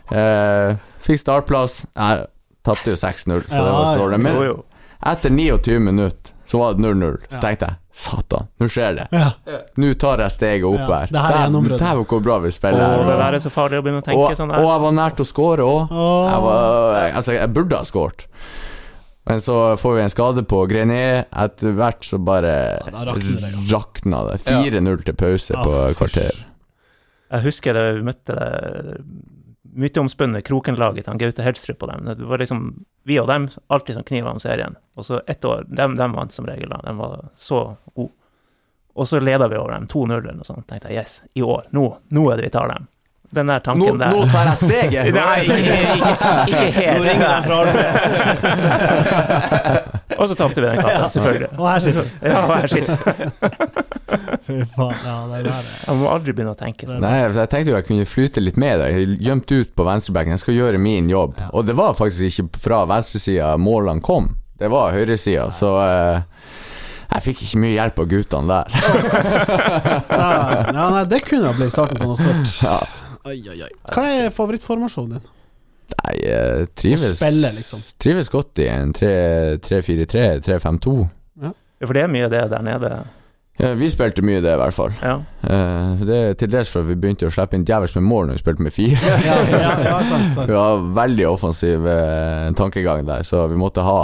[SPEAKER 4] Eh, fikk startplass. Jeg tapte jo 6-0, så det var sårende.
[SPEAKER 1] Jo,
[SPEAKER 4] Men
[SPEAKER 1] jo.
[SPEAKER 4] etter 29 minutter så var det 0-0. Så tenkte jeg satan, nå skjer det.
[SPEAKER 3] Ja.
[SPEAKER 4] Nå tar jeg steget opp
[SPEAKER 3] Ja,
[SPEAKER 4] her.
[SPEAKER 3] det her er
[SPEAKER 4] Dæven,
[SPEAKER 3] gjennombruddet.
[SPEAKER 4] dæven, hvor bra vi
[SPEAKER 1] Og
[SPEAKER 4] spiller.
[SPEAKER 1] det der er så farlig å begynne å tenke
[SPEAKER 4] Og,
[SPEAKER 1] sånn
[SPEAKER 4] og
[SPEAKER 1] der.
[SPEAKER 4] jeg var nært å score òg.
[SPEAKER 3] Åh.
[SPEAKER 4] Jeg, var- altså, jeg burde ha skåret. Men så får vi en skade på Grenier. Etter hvert så bare
[SPEAKER 3] Ja, Ah, da rakner det,
[SPEAKER 4] rakna det. 4-0 til pause
[SPEAKER 3] Ja,
[SPEAKER 4] på
[SPEAKER 3] fysj.
[SPEAKER 4] kvarter.
[SPEAKER 1] Jeg husker da vi møtte det mye omspunne Kroken-laget til han Gaute Helstrup og dem. Det var liksom vi og dem alltid som kniver om serien. Og så ett år Dem, dem vant som regel, da. De var så gode. Og så leda vi over dem 2-0 eller noe sånt. Tenkte jeg yes, i år. Nå, nå er det vi tar dem. Den der tanken
[SPEAKER 2] Nå,
[SPEAKER 1] der.
[SPEAKER 2] nå tar jeg steget!
[SPEAKER 1] <laughs> Nei, ikke, ikke, ikke helt.
[SPEAKER 3] Nå ringer de fra Alfred.
[SPEAKER 1] <laughs> Og så tapte vi den kampen, selvfølgelig.
[SPEAKER 3] Og her sitter vi.
[SPEAKER 1] Ja, her sitter vi.
[SPEAKER 3] Fy faen. Ja, det der er
[SPEAKER 1] Jeg må aldri begynne å tenke sånn.
[SPEAKER 4] Nei, for jeg tenkte jo jeg kunne flyte litt med der. Jeg Gjemt ut på venstrebacken. Jeg skal gjøre min jobb.
[SPEAKER 3] Ja.
[SPEAKER 4] Og det var faktisk ikke fra venstresida målene kom. Det var høyresida, så eh, jeg fikk ikke mye hjelp av guttene der. <laughs>
[SPEAKER 3] Da- Ja, nei, det kunne ha blitt starten på noe stort.
[SPEAKER 4] Ja.
[SPEAKER 3] Oi, oi, oi. Hva er favorittformasjonen din?
[SPEAKER 4] Nei, jeg trives
[SPEAKER 3] Spille, liksom.
[SPEAKER 4] Trives godt i en 3-4-3, 3-5-2.
[SPEAKER 1] For det er mye av det der nede.
[SPEAKER 4] Ja, vi spilte mye det, i hvert fall.
[SPEAKER 1] Ja.
[SPEAKER 4] Eh, det er til dels for at vi begynte å slippe inn djevelsk med mål når vi spilte
[SPEAKER 3] <laughs>
[SPEAKER 4] med fire.
[SPEAKER 3] Ja, ja, ja sant,
[SPEAKER 4] vi
[SPEAKER 3] sant.
[SPEAKER 4] var veldig offensiv eh, tankegang der, så vi måtte ha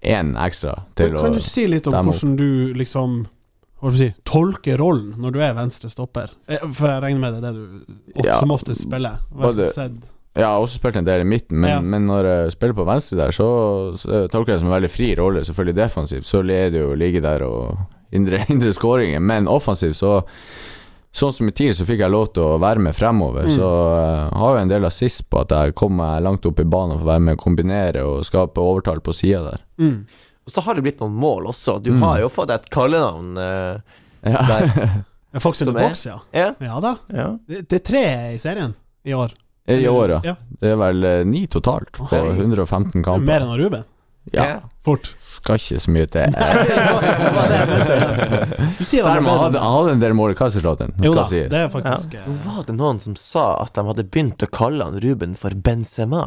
[SPEAKER 4] én ekstra til å
[SPEAKER 3] Kan du si litt om
[SPEAKER 4] demme opp.
[SPEAKER 3] hvordan du liksom hva skal jeg si, tolker rollen når du er venstre stopper? Eh, For jeg regner med det er det du of,
[SPEAKER 4] Ja.
[SPEAKER 3] som oftest spiller.
[SPEAKER 4] Var det-
[SPEAKER 3] Venstre-sedd.
[SPEAKER 4] Ja, også spilte en del i midten, men,
[SPEAKER 3] Ja.
[SPEAKER 4] men når jeg spiller på venstre der, så, så tolker jeg det som en veldig fri rolle, selvfølgelig defensivt, så leder det jo å ligge der og hindre, <laughs> hindre skåringer, men offensivt så Sånn som i tid så fikk jeg lov til å være med fremover, så
[SPEAKER 3] Mm.
[SPEAKER 4] eh, har jeg en del assist på at jeg kom meg langt opp i banen og får være med å kombinere og skape overtall på sida der.
[SPEAKER 3] <laughs> Mm.
[SPEAKER 2] Og så har det blitt noen mål også. Du
[SPEAKER 4] Mm.
[SPEAKER 2] har jo fått et kallenavn eh,
[SPEAKER 4] Ja.
[SPEAKER 2] der.
[SPEAKER 3] Ja, Fox in the
[SPEAKER 2] Som er-
[SPEAKER 3] box, ja.
[SPEAKER 2] Ja.
[SPEAKER 3] Ja da.
[SPEAKER 1] ja.
[SPEAKER 3] Det, det er tre i serien i år.
[SPEAKER 4] I år, ja.
[SPEAKER 3] Ja.
[SPEAKER 4] Det er vel eh, ni totalt på
[SPEAKER 3] Oi.
[SPEAKER 4] 115
[SPEAKER 3] Det er
[SPEAKER 4] kamper.
[SPEAKER 3] Mer enn Ruben.
[SPEAKER 4] <laughs> Ja,
[SPEAKER 3] Fort.
[SPEAKER 4] skal ikke så mye til.
[SPEAKER 3] Det var det jeg mente. Du sier det
[SPEAKER 4] Selv om han
[SPEAKER 3] var
[SPEAKER 4] hadde,
[SPEAKER 3] bedre.
[SPEAKER 4] han hadde en del mål i Kaiserslautern,
[SPEAKER 3] Jo
[SPEAKER 4] skal
[SPEAKER 3] da,
[SPEAKER 4] sies.
[SPEAKER 3] det er faktisk eh,
[SPEAKER 2] Var det noen som sa at de hadde begynt å kalle han Ruben for Benzema?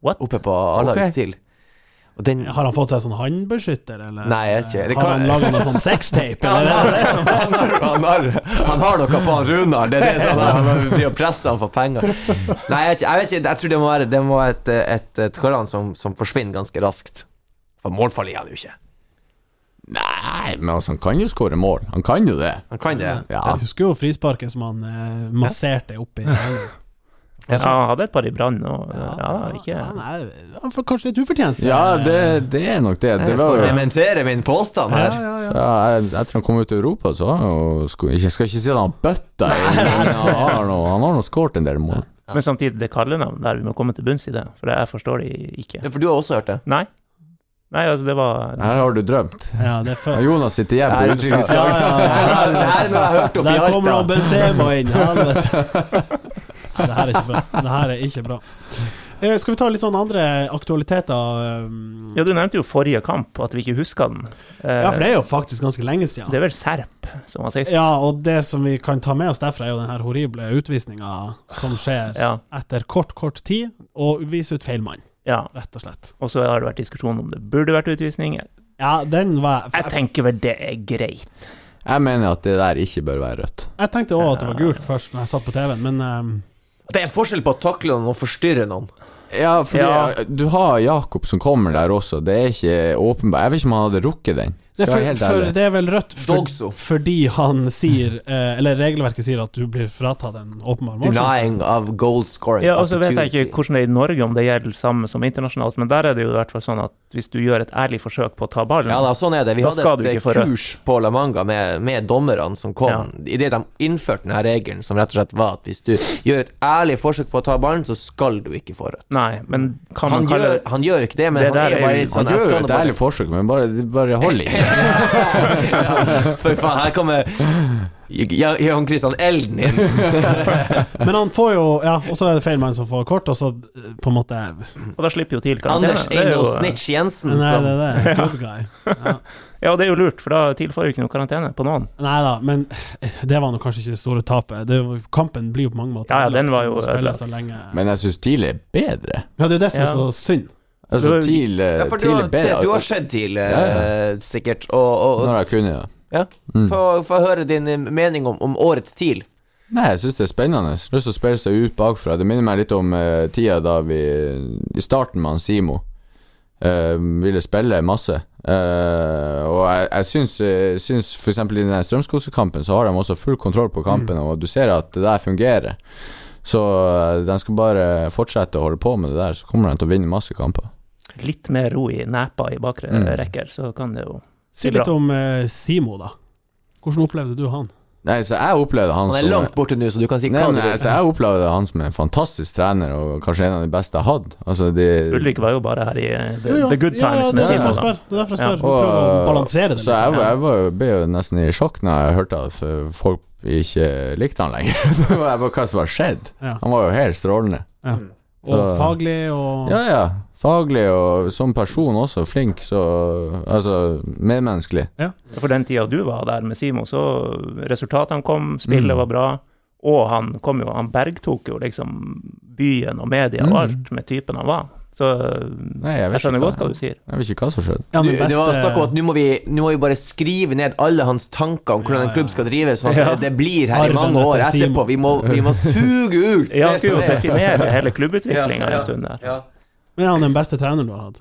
[SPEAKER 1] What?
[SPEAKER 2] Oppe på A-lagets stil. Og den
[SPEAKER 3] Har han fått seg sånn håndbeskytter, eller?
[SPEAKER 2] Nei, jeg vet ikke. Det
[SPEAKER 3] Har
[SPEAKER 2] kan-
[SPEAKER 3] han laga noe sånn sextape,
[SPEAKER 2] han
[SPEAKER 3] eller?
[SPEAKER 2] har, <laughs> han, har, han, har, han har noe på han Runar. Det er det som er- han har driver og presser han for penger. Nei, jeg, vet ikke- jeg vet ikke. Jeg tror det må være Det må være et, et, et kallenavn som, som forsvinner ganske raskt. For målfarlig er han jo ikke.
[SPEAKER 4] Nei, men altså, han kan jo skåre mål. Han kan jo det.
[SPEAKER 2] Han kan det.
[SPEAKER 4] Ja.
[SPEAKER 3] Jeg husker jo frisparket som han eh, masserte opp i.
[SPEAKER 1] Ja, han hadde et par i brann og Ja, ikke
[SPEAKER 3] Han er han får kanskje litt ufortjent.
[SPEAKER 4] Ja, det, det er nok det. Det var
[SPEAKER 2] For å
[SPEAKER 4] jo
[SPEAKER 2] dementere min påstand
[SPEAKER 3] Ja,
[SPEAKER 2] her.
[SPEAKER 3] ja,
[SPEAKER 4] så
[SPEAKER 3] ja.
[SPEAKER 4] jeg, etter han kom ut til Europa, så har han jo sko- Jeg skal ikke si at han bøtta i men Han har nå- han har nå skåret en del mål.
[SPEAKER 1] Men samtidig, det kallenavn der, vi må komme til bunns i det, for det- jeg forstår det
[SPEAKER 2] Ja,
[SPEAKER 1] ikke.
[SPEAKER 2] For du har også hørt det?
[SPEAKER 1] Nei. Nei, altså, det var
[SPEAKER 4] Her har du drømt.
[SPEAKER 3] ja, det er før.
[SPEAKER 4] Jonas sitter igjen på
[SPEAKER 2] Nei,
[SPEAKER 4] utdrikningslaget.
[SPEAKER 3] Ja, ja, ja.
[SPEAKER 2] Det her nå har jeg hørt opp i
[SPEAKER 3] Der kommer
[SPEAKER 2] Alta.
[SPEAKER 3] han Benzema inn, helvete. Ja, Det her er ikke bra. Det her er ikke bra. Eh, Skal vi ta litt sånn andre aktualiteter? eh,
[SPEAKER 1] Ja, du nevnte jo forrige kamp, at vi ikke huska den. Eh,
[SPEAKER 3] Ja, for det er jo faktisk ganske lenge siden.
[SPEAKER 1] det er vel Serp som var sist?
[SPEAKER 3] Ja, og det som vi kan ta med oss derfra, er jo den her horrible utvisninga som skjer
[SPEAKER 1] Ja,
[SPEAKER 3] etter kort, kort tid, og viser ut feil mann,
[SPEAKER 1] ja.
[SPEAKER 3] rett og slett.
[SPEAKER 1] Og så har det vært diskusjon om det burde vært utvisning.
[SPEAKER 3] Ja, den var
[SPEAKER 1] Jeg
[SPEAKER 3] Jeg,
[SPEAKER 1] tenker vel det er greit.
[SPEAKER 4] Jeg mener at det der ikke bør være rødt.
[SPEAKER 3] jeg tenkte òg at det var gult først Når jeg satt på TV-en, men ehm,
[SPEAKER 2] Det er forskjell på å takle noen og forstyrre noen.
[SPEAKER 4] Ja, fordi
[SPEAKER 1] Ja.
[SPEAKER 4] eh, du har Jakob som kommer der også. Det er ikke åpenbart. Jeg vet ikke om han hadde rukket den.
[SPEAKER 3] det er,
[SPEAKER 4] Skal jeg være
[SPEAKER 3] for,
[SPEAKER 4] helt
[SPEAKER 3] for
[SPEAKER 4] ærlig.
[SPEAKER 3] det er vel rødt for,
[SPEAKER 2] Dogso.
[SPEAKER 3] fordi han sier eh, Eller regelverket sier at du blir fratatt en åpenbar målsjanse.
[SPEAKER 2] Denying of goal scoring.
[SPEAKER 1] Ja, og så vet jeg ikke
[SPEAKER 2] opportunity.
[SPEAKER 1] hvordan det er i Norge, om det gjelder samme som internasjonalt, men der er det jo i hvert fall sånn at hvis du gjør et ærlig forsøk på å ta ballen
[SPEAKER 2] Ja da, sånn er det. Vi
[SPEAKER 1] Da
[SPEAKER 2] hadde
[SPEAKER 1] skal
[SPEAKER 2] et
[SPEAKER 1] du
[SPEAKER 2] eh,
[SPEAKER 1] ikke få rødt.
[SPEAKER 2] kurs på La Manga med, med dommerne som kom
[SPEAKER 1] Ja.
[SPEAKER 2] idet de innførte denne regelen, som rett og slett var at hvis du gjør et ærlig forsøk på å ta ballen, så skal du ikke få rødt.
[SPEAKER 1] Nei, men kan
[SPEAKER 2] Han,
[SPEAKER 1] man kalle
[SPEAKER 2] gjør- han gjør ikke det, men
[SPEAKER 1] Det
[SPEAKER 2] han
[SPEAKER 1] der
[SPEAKER 2] er
[SPEAKER 1] er
[SPEAKER 2] bare
[SPEAKER 1] jo-
[SPEAKER 2] litt sånn
[SPEAKER 4] Han gjør
[SPEAKER 2] jeg
[SPEAKER 4] jo
[SPEAKER 2] skal nå
[SPEAKER 4] et
[SPEAKER 2] bare-
[SPEAKER 4] ærlig forsøk, men bare, det bare holder ikke.
[SPEAKER 2] <laughs> ja, for faen, her kommer Jan Jan Christian Elden inn.
[SPEAKER 3] Men han får jo Ja, og så er det feil mann som får kort, og så eh, på en måte
[SPEAKER 1] <laughs> Og da slipper jo TIL karantene.
[SPEAKER 2] Anders
[SPEAKER 1] Det er
[SPEAKER 2] Eino
[SPEAKER 1] jo-
[SPEAKER 2] Snitch Jensen.
[SPEAKER 3] Nei,
[SPEAKER 2] som-
[SPEAKER 3] det er det. Good guy. Ja.
[SPEAKER 1] Ja, det er jo lurt, for da TIL får jo ikke noe karantene på noen.
[SPEAKER 3] Nei da, men det var nå kanskje ikke det store tapet. Det, var- kampen blir jo på mange måter
[SPEAKER 1] Ja, ja, den var jo
[SPEAKER 3] ødelagt. Spiller
[SPEAKER 1] ødelagt.
[SPEAKER 3] så lenge.
[SPEAKER 4] Men jeg syns TIL er bedre.
[SPEAKER 3] Ja, det er jo det som er
[SPEAKER 1] Ja.
[SPEAKER 3] så synd.
[SPEAKER 4] Altså,
[SPEAKER 1] Du-
[SPEAKER 4] TIL, eh,
[SPEAKER 2] Ja, for du
[SPEAKER 4] TIL
[SPEAKER 2] har,
[SPEAKER 4] er bedre.
[SPEAKER 2] du har sett TIL, eh,
[SPEAKER 4] Ja,
[SPEAKER 2] sikkert. Og, og, og
[SPEAKER 4] Når jeg kunne, ja.
[SPEAKER 2] Ja.
[SPEAKER 4] Mm.
[SPEAKER 2] Få få høre din eh, mening om, om årets TIL.
[SPEAKER 4] Nei, jeg syns det er spennende. Lyst til å spille seg ut bakfra. Det minner meg litt om eh, tida da vi I starten med han Simo eh, ville spille masse. Eh, og jeg, jeg syns, eh, syns for eksempel i den Strømskosekampen så har de også full kontroll på kampen,
[SPEAKER 2] Mm.
[SPEAKER 4] og du ser at det der fungerer. Så eh, de skal bare fortsette å holde på med det der, så kommer de til å vinne masse kamper.
[SPEAKER 1] Litt mer ro i nepa i bakre
[SPEAKER 4] Mm.
[SPEAKER 1] rekker, så kan det jo
[SPEAKER 3] Si
[SPEAKER 1] Det er
[SPEAKER 3] litt
[SPEAKER 1] bra.
[SPEAKER 3] om eh, Simo, da. Hvordan opplevde du han?
[SPEAKER 4] Nei, så jeg opplevde han,
[SPEAKER 2] Han er
[SPEAKER 4] som
[SPEAKER 2] langt borte nå, så du kan si
[SPEAKER 4] Nei,
[SPEAKER 2] hva du
[SPEAKER 4] men
[SPEAKER 2] vil.
[SPEAKER 4] altså, Jeg opplevde han som en fantastisk trener, og kanskje en av de beste jeg hadde. Altså, de,
[SPEAKER 1] Ulrik var jo bare her i eh, the,
[SPEAKER 3] Jo, jo,
[SPEAKER 1] the good
[SPEAKER 3] ja,
[SPEAKER 1] times
[SPEAKER 3] ja,
[SPEAKER 1] med
[SPEAKER 3] det er derfor
[SPEAKER 1] Simo.
[SPEAKER 3] jeg
[SPEAKER 1] da.
[SPEAKER 3] spør. Det er derfor jeg
[SPEAKER 1] Ja.
[SPEAKER 3] spør. Prøv å
[SPEAKER 4] Og-
[SPEAKER 3] balansere det
[SPEAKER 4] Så jeg,
[SPEAKER 3] litt.
[SPEAKER 4] var- jeg var, jo- ble jo nesten i sjokk når jeg hørte at eh, folk ikke likte han lenger. <laughs> Da var jeg bare, Hva som har skjedd?
[SPEAKER 3] Ja.
[SPEAKER 4] Han var jo helt strålende.
[SPEAKER 3] Og
[SPEAKER 4] så-
[SPEAKER 3] faglig og
[SPEAKER 4] Ja, ja. Faglig og som person også flink, så Altså medmenneskelig.
[SPEAKER 1] For den tida du var der med Simo, så resultatene kom, spillet
[SPEAKER 4] Mm.
[SPEAKER 1] var bra, og han kom jo Han bergtok jo liksom byen og media og
[SPEAKER 4] Mm.
[SPEAKER 1] alt med typen han var. Så
[SPEAKER 4] Nei, jeg
[SPEAKER 1] jeg
[SPEAKER 4] vet,
[SPEAKER 1] skjønner
[SPEAKER 4] ikke,
[SPEAKER 1] godt hva du sier.
[SPEAKER 4] jeg vet ikke hva som skjedde.
[SPEAKER 3] Ja,
[SPEAKER 2] Du,
[SPEAKER 3] men
[SPEAKER 2] det var
[SPEAKER 3] beste-
[SPEAKER 2] snakk om at nå må, vi, nå må vi bare skrive ned alle hans tanker om hvordan
[SPEAKER 3] Ja,
[SPEAKER 2] en klubb
[SPEAKER 3] ja.
[SPEAKER 2] skal drives, sånn at
[SPEAKER 1] Ja.
[SPEAKER 2] det blir her i
[SPEAKER 3] Arven
[SPEAKER 2] mange år
[SPEAKER 3] etter Simon.
[SPEAKER 2] etterpå. Vi må, vi må suge ut
[SPEAKER 1] Ja, han
[SPEAKER 2] det
[SPEAKER 1] skulle jo
[SPEAKER 2] som er. sånn-
[SPEAKER 1] definere hele klubbutviklinga
[SPEAKER 2] Ja, ja,
[SPEAKER 1] en stund der.
[SPEAKER 2] Ja.
[SPEAKER 3] Men er han den beste treneren du har hatt?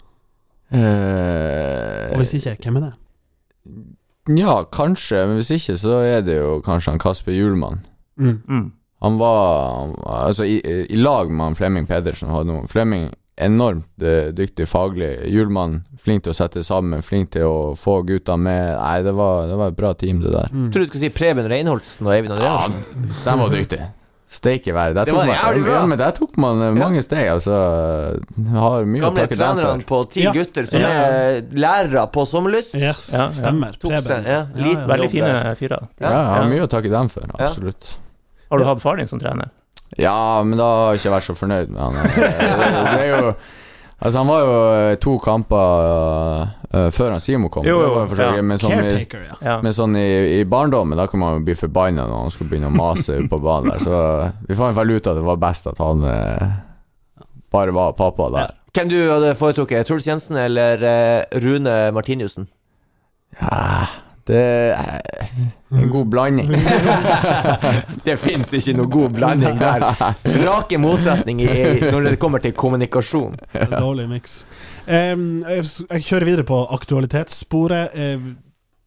[SPEAKER 3] Og hvis
[SPEAKER 4] Eh,
[SPEAKER 3] ikke, hvem er det?
[SPEAKER 4] ja, kanskje, men hvis ikke, så er det jo kanskje han Kasper Hjulmann.
[SPEAKER 3] Mm.
[SPEAKER 1] Mm.
[SPEAKER 4] Han var altså, i, i lag med han Flemming Pedersen. Hadde noen. Flemming enormt eh, dyktig faglig. Hjulmann flink til å sette sammen, flink til å få gutta med. Nei, det var, det var et bra team, det der.
[SPEAKER 3] Mm.
[SPEAKER 2] Jeg tror du skulle si Preben Reinholdsen og Eivind Andreassen.
[SPEAKER 4] de var dyktige. Steike være. Der
[SPEAKER 2] Det
[SPEAKER 4] tok
[SPEAKER 2] var
[SPEAKER 4] man,
[SPEAKER 2] jævlig bra.
[SPEAKER 4] ja, men der tok man eh, mange steg, altså. Har mye å
[SPEAKER 2] Gamle
[SPEAKER 4] takke dem
[SPEAKER 2] trenerne
[SPEAKER 4] for.
[SPEAKER 2] på ti
[SPEAKER 3] Ja.
[SPEAKER 2] gutter som
[SPEAKER 3] Ja.
[SPEAKER 2] er lærere på sommerlyst.
[SPEAKER 3] Yes,
[SPEAKER 1] Ja, ja.
[SPEAKER 3] stemmer.
[SPEAKER 2] Tok seg,
[SPEAKER 3] Preben.
[SPEAKER 2] ja, liten
[SPEAKER 3] Ja,
[SPEAKER 1] Veldig
[SPEAKER 2] jobb der.
[SPEAKER 1] fine fyrer.
[SPEAKER 4] Ja, jeg har mye å takke dem for,
[SPEAKER 2] Ja.
[SPEAKER 4] absolutt.
[SPEAKER 1] Har du hatt far din som trener?
[SPEAKER 4] Ja, men da har jeg ikke vært så fornøyd med han.
[SPEAKER 1] <laughs>
[SPEAKER 4] Det er jo Altså, han var jo to kamper eh, før han Simo kom.
[SPEAKER 1] Jo, jo,
[SPEAKER 4] Det var jo for så vidt,
[SPEAKER 1] ja.
[SPEAKER 4] Men sånn, i,
[SPEAKER 3] Caretaker, ja.
[SPEAKER 1] Ja.
[SPEAKER 4] men sånn i, i barndommen, da kan man jo bli forbanna når han skulle begynne å mase på banen der. Så eh, vi fant vel ut at det var best at han eh, bare var pappa der.
[SPEAKER 2] Hvem du hadde foretrukket? Truls Jensen eller eh, Rune Martiniussen?
[SPEAKER 4] Ja, det er en god
[SPEAKER 1] <laughs>
[SPEAKER 4] blanding.
[SPEAKER 2] det fins ikke noe god blanding der. <laughs> Rake motsetning i, når det kommer til kommunikasjon.
[SPEAKER 3] En Dårlig miks. Em, jeg s- jeg kjører videre på aktualitetssporet. Eh,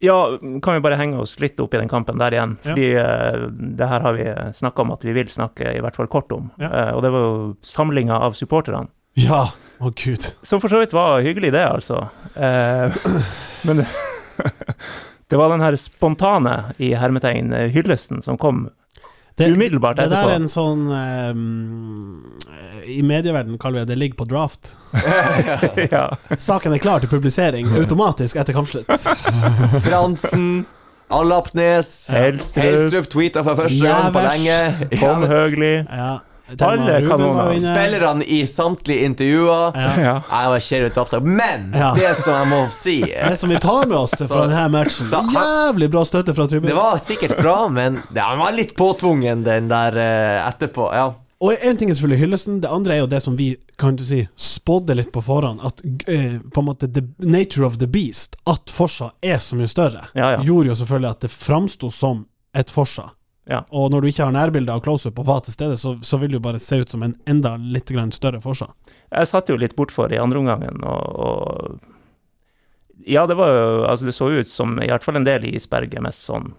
[SPEAKER 1] Ja, kan vi bare henge oss litt opp i den kampen der igjen?
[SPEAKER 3] Ja.
[SPEAKER 1] Fordi eh, det her har vi snakka om at vi vil snakke i hvert fall kort om.
[SPEAKER 3] Ja.
[SPEAKER 1] Eh, og det var jo samlinga av supporterne.
[SPEAKER 3] ja, å gud.
[SPEAKER 1] Som for så vidt var hyggelig, det, altså. Eh, <clears throat> men <laughs> det var den her spontane, i hermetegn, hyllesten som kom
[SPEAKER 3] Det, det
[SPEAKER 1] umiddelbart
[SPEAKER 3] der
[SPEAKER 1] etterpå.
[SPEAKER 3] er en sånn em, I medieverden kaller vi det 'det ligger på draft'.
[SPEAKER 1] ja.
[SPEAKER 3] Saken er klar
[SPEAKER 1] <laughs>
[SPEAKER 3] til publisering automatisk etter kampslutt.
[SPEAKER 2] Fransen, Allapnes,
[SPEAKER 1] Helstrup.
[SPEAKER 2] Helstrup tweeta for første gang på
[SPEAKER 3] Jævers.
[SPEAKER 2] lenge.
[SPEAKER 1] Tom Høgli.
[SPEAKER 3] Ja.
[SPEAKER 1] Alle
[SPEAKER 3] Thelma Ruben
[SPEAKER 1] kanoner.
[SPEAKER 3] var inne.
[SPEAKER 2] Spillerne i samtlige intervjuer.
[SPEAKER 3] Ja.
[SPEAKER 1] Ja.
[SPEAKER 2] Nei, det var kjedelig opptak. Men
[SPEAKER 3] Ja.
[SPEAKER 2] det som jeg må si eh,
[SPEAKER 3] Det som vi tar med oss fra denne matchen
[SPEAKER 2] så han-
[SPEAKER 3] Jævlig bra støtte fra
[SPEAKER 2] Det
[SPEAKER 3] tribunen.
[SPEAKER 2] var sikkert bra, men det han var litt påtvungen, den der eh, etterpå. Ja.
[SPEAKER 3] Og en ting er selvfølgelig hyllesten, det andre er jo det som vi kan du si, spådde litt på forhånd. At eh, på en måte the nature of the beast, at Forsa er så mye større,
[SPEAKER 1] Ja, ja.
[SPEAKER 3] gjorde jo selvfølgelig at det framsto som et Forsa.
[SPEAKER 1] Ja.
[SPEAKER 3] Og når du ikke har nærbilder av close-up og hva til stede, så, så vil det jo bare se ut som en enda litt grann større Forsa.
[SPEAKER 1] Jeg satt jo litt bortfor i andre omgangen, og, og Ja, det var jo Altså, det så ut som i hvert fall en del i isberget mest sånn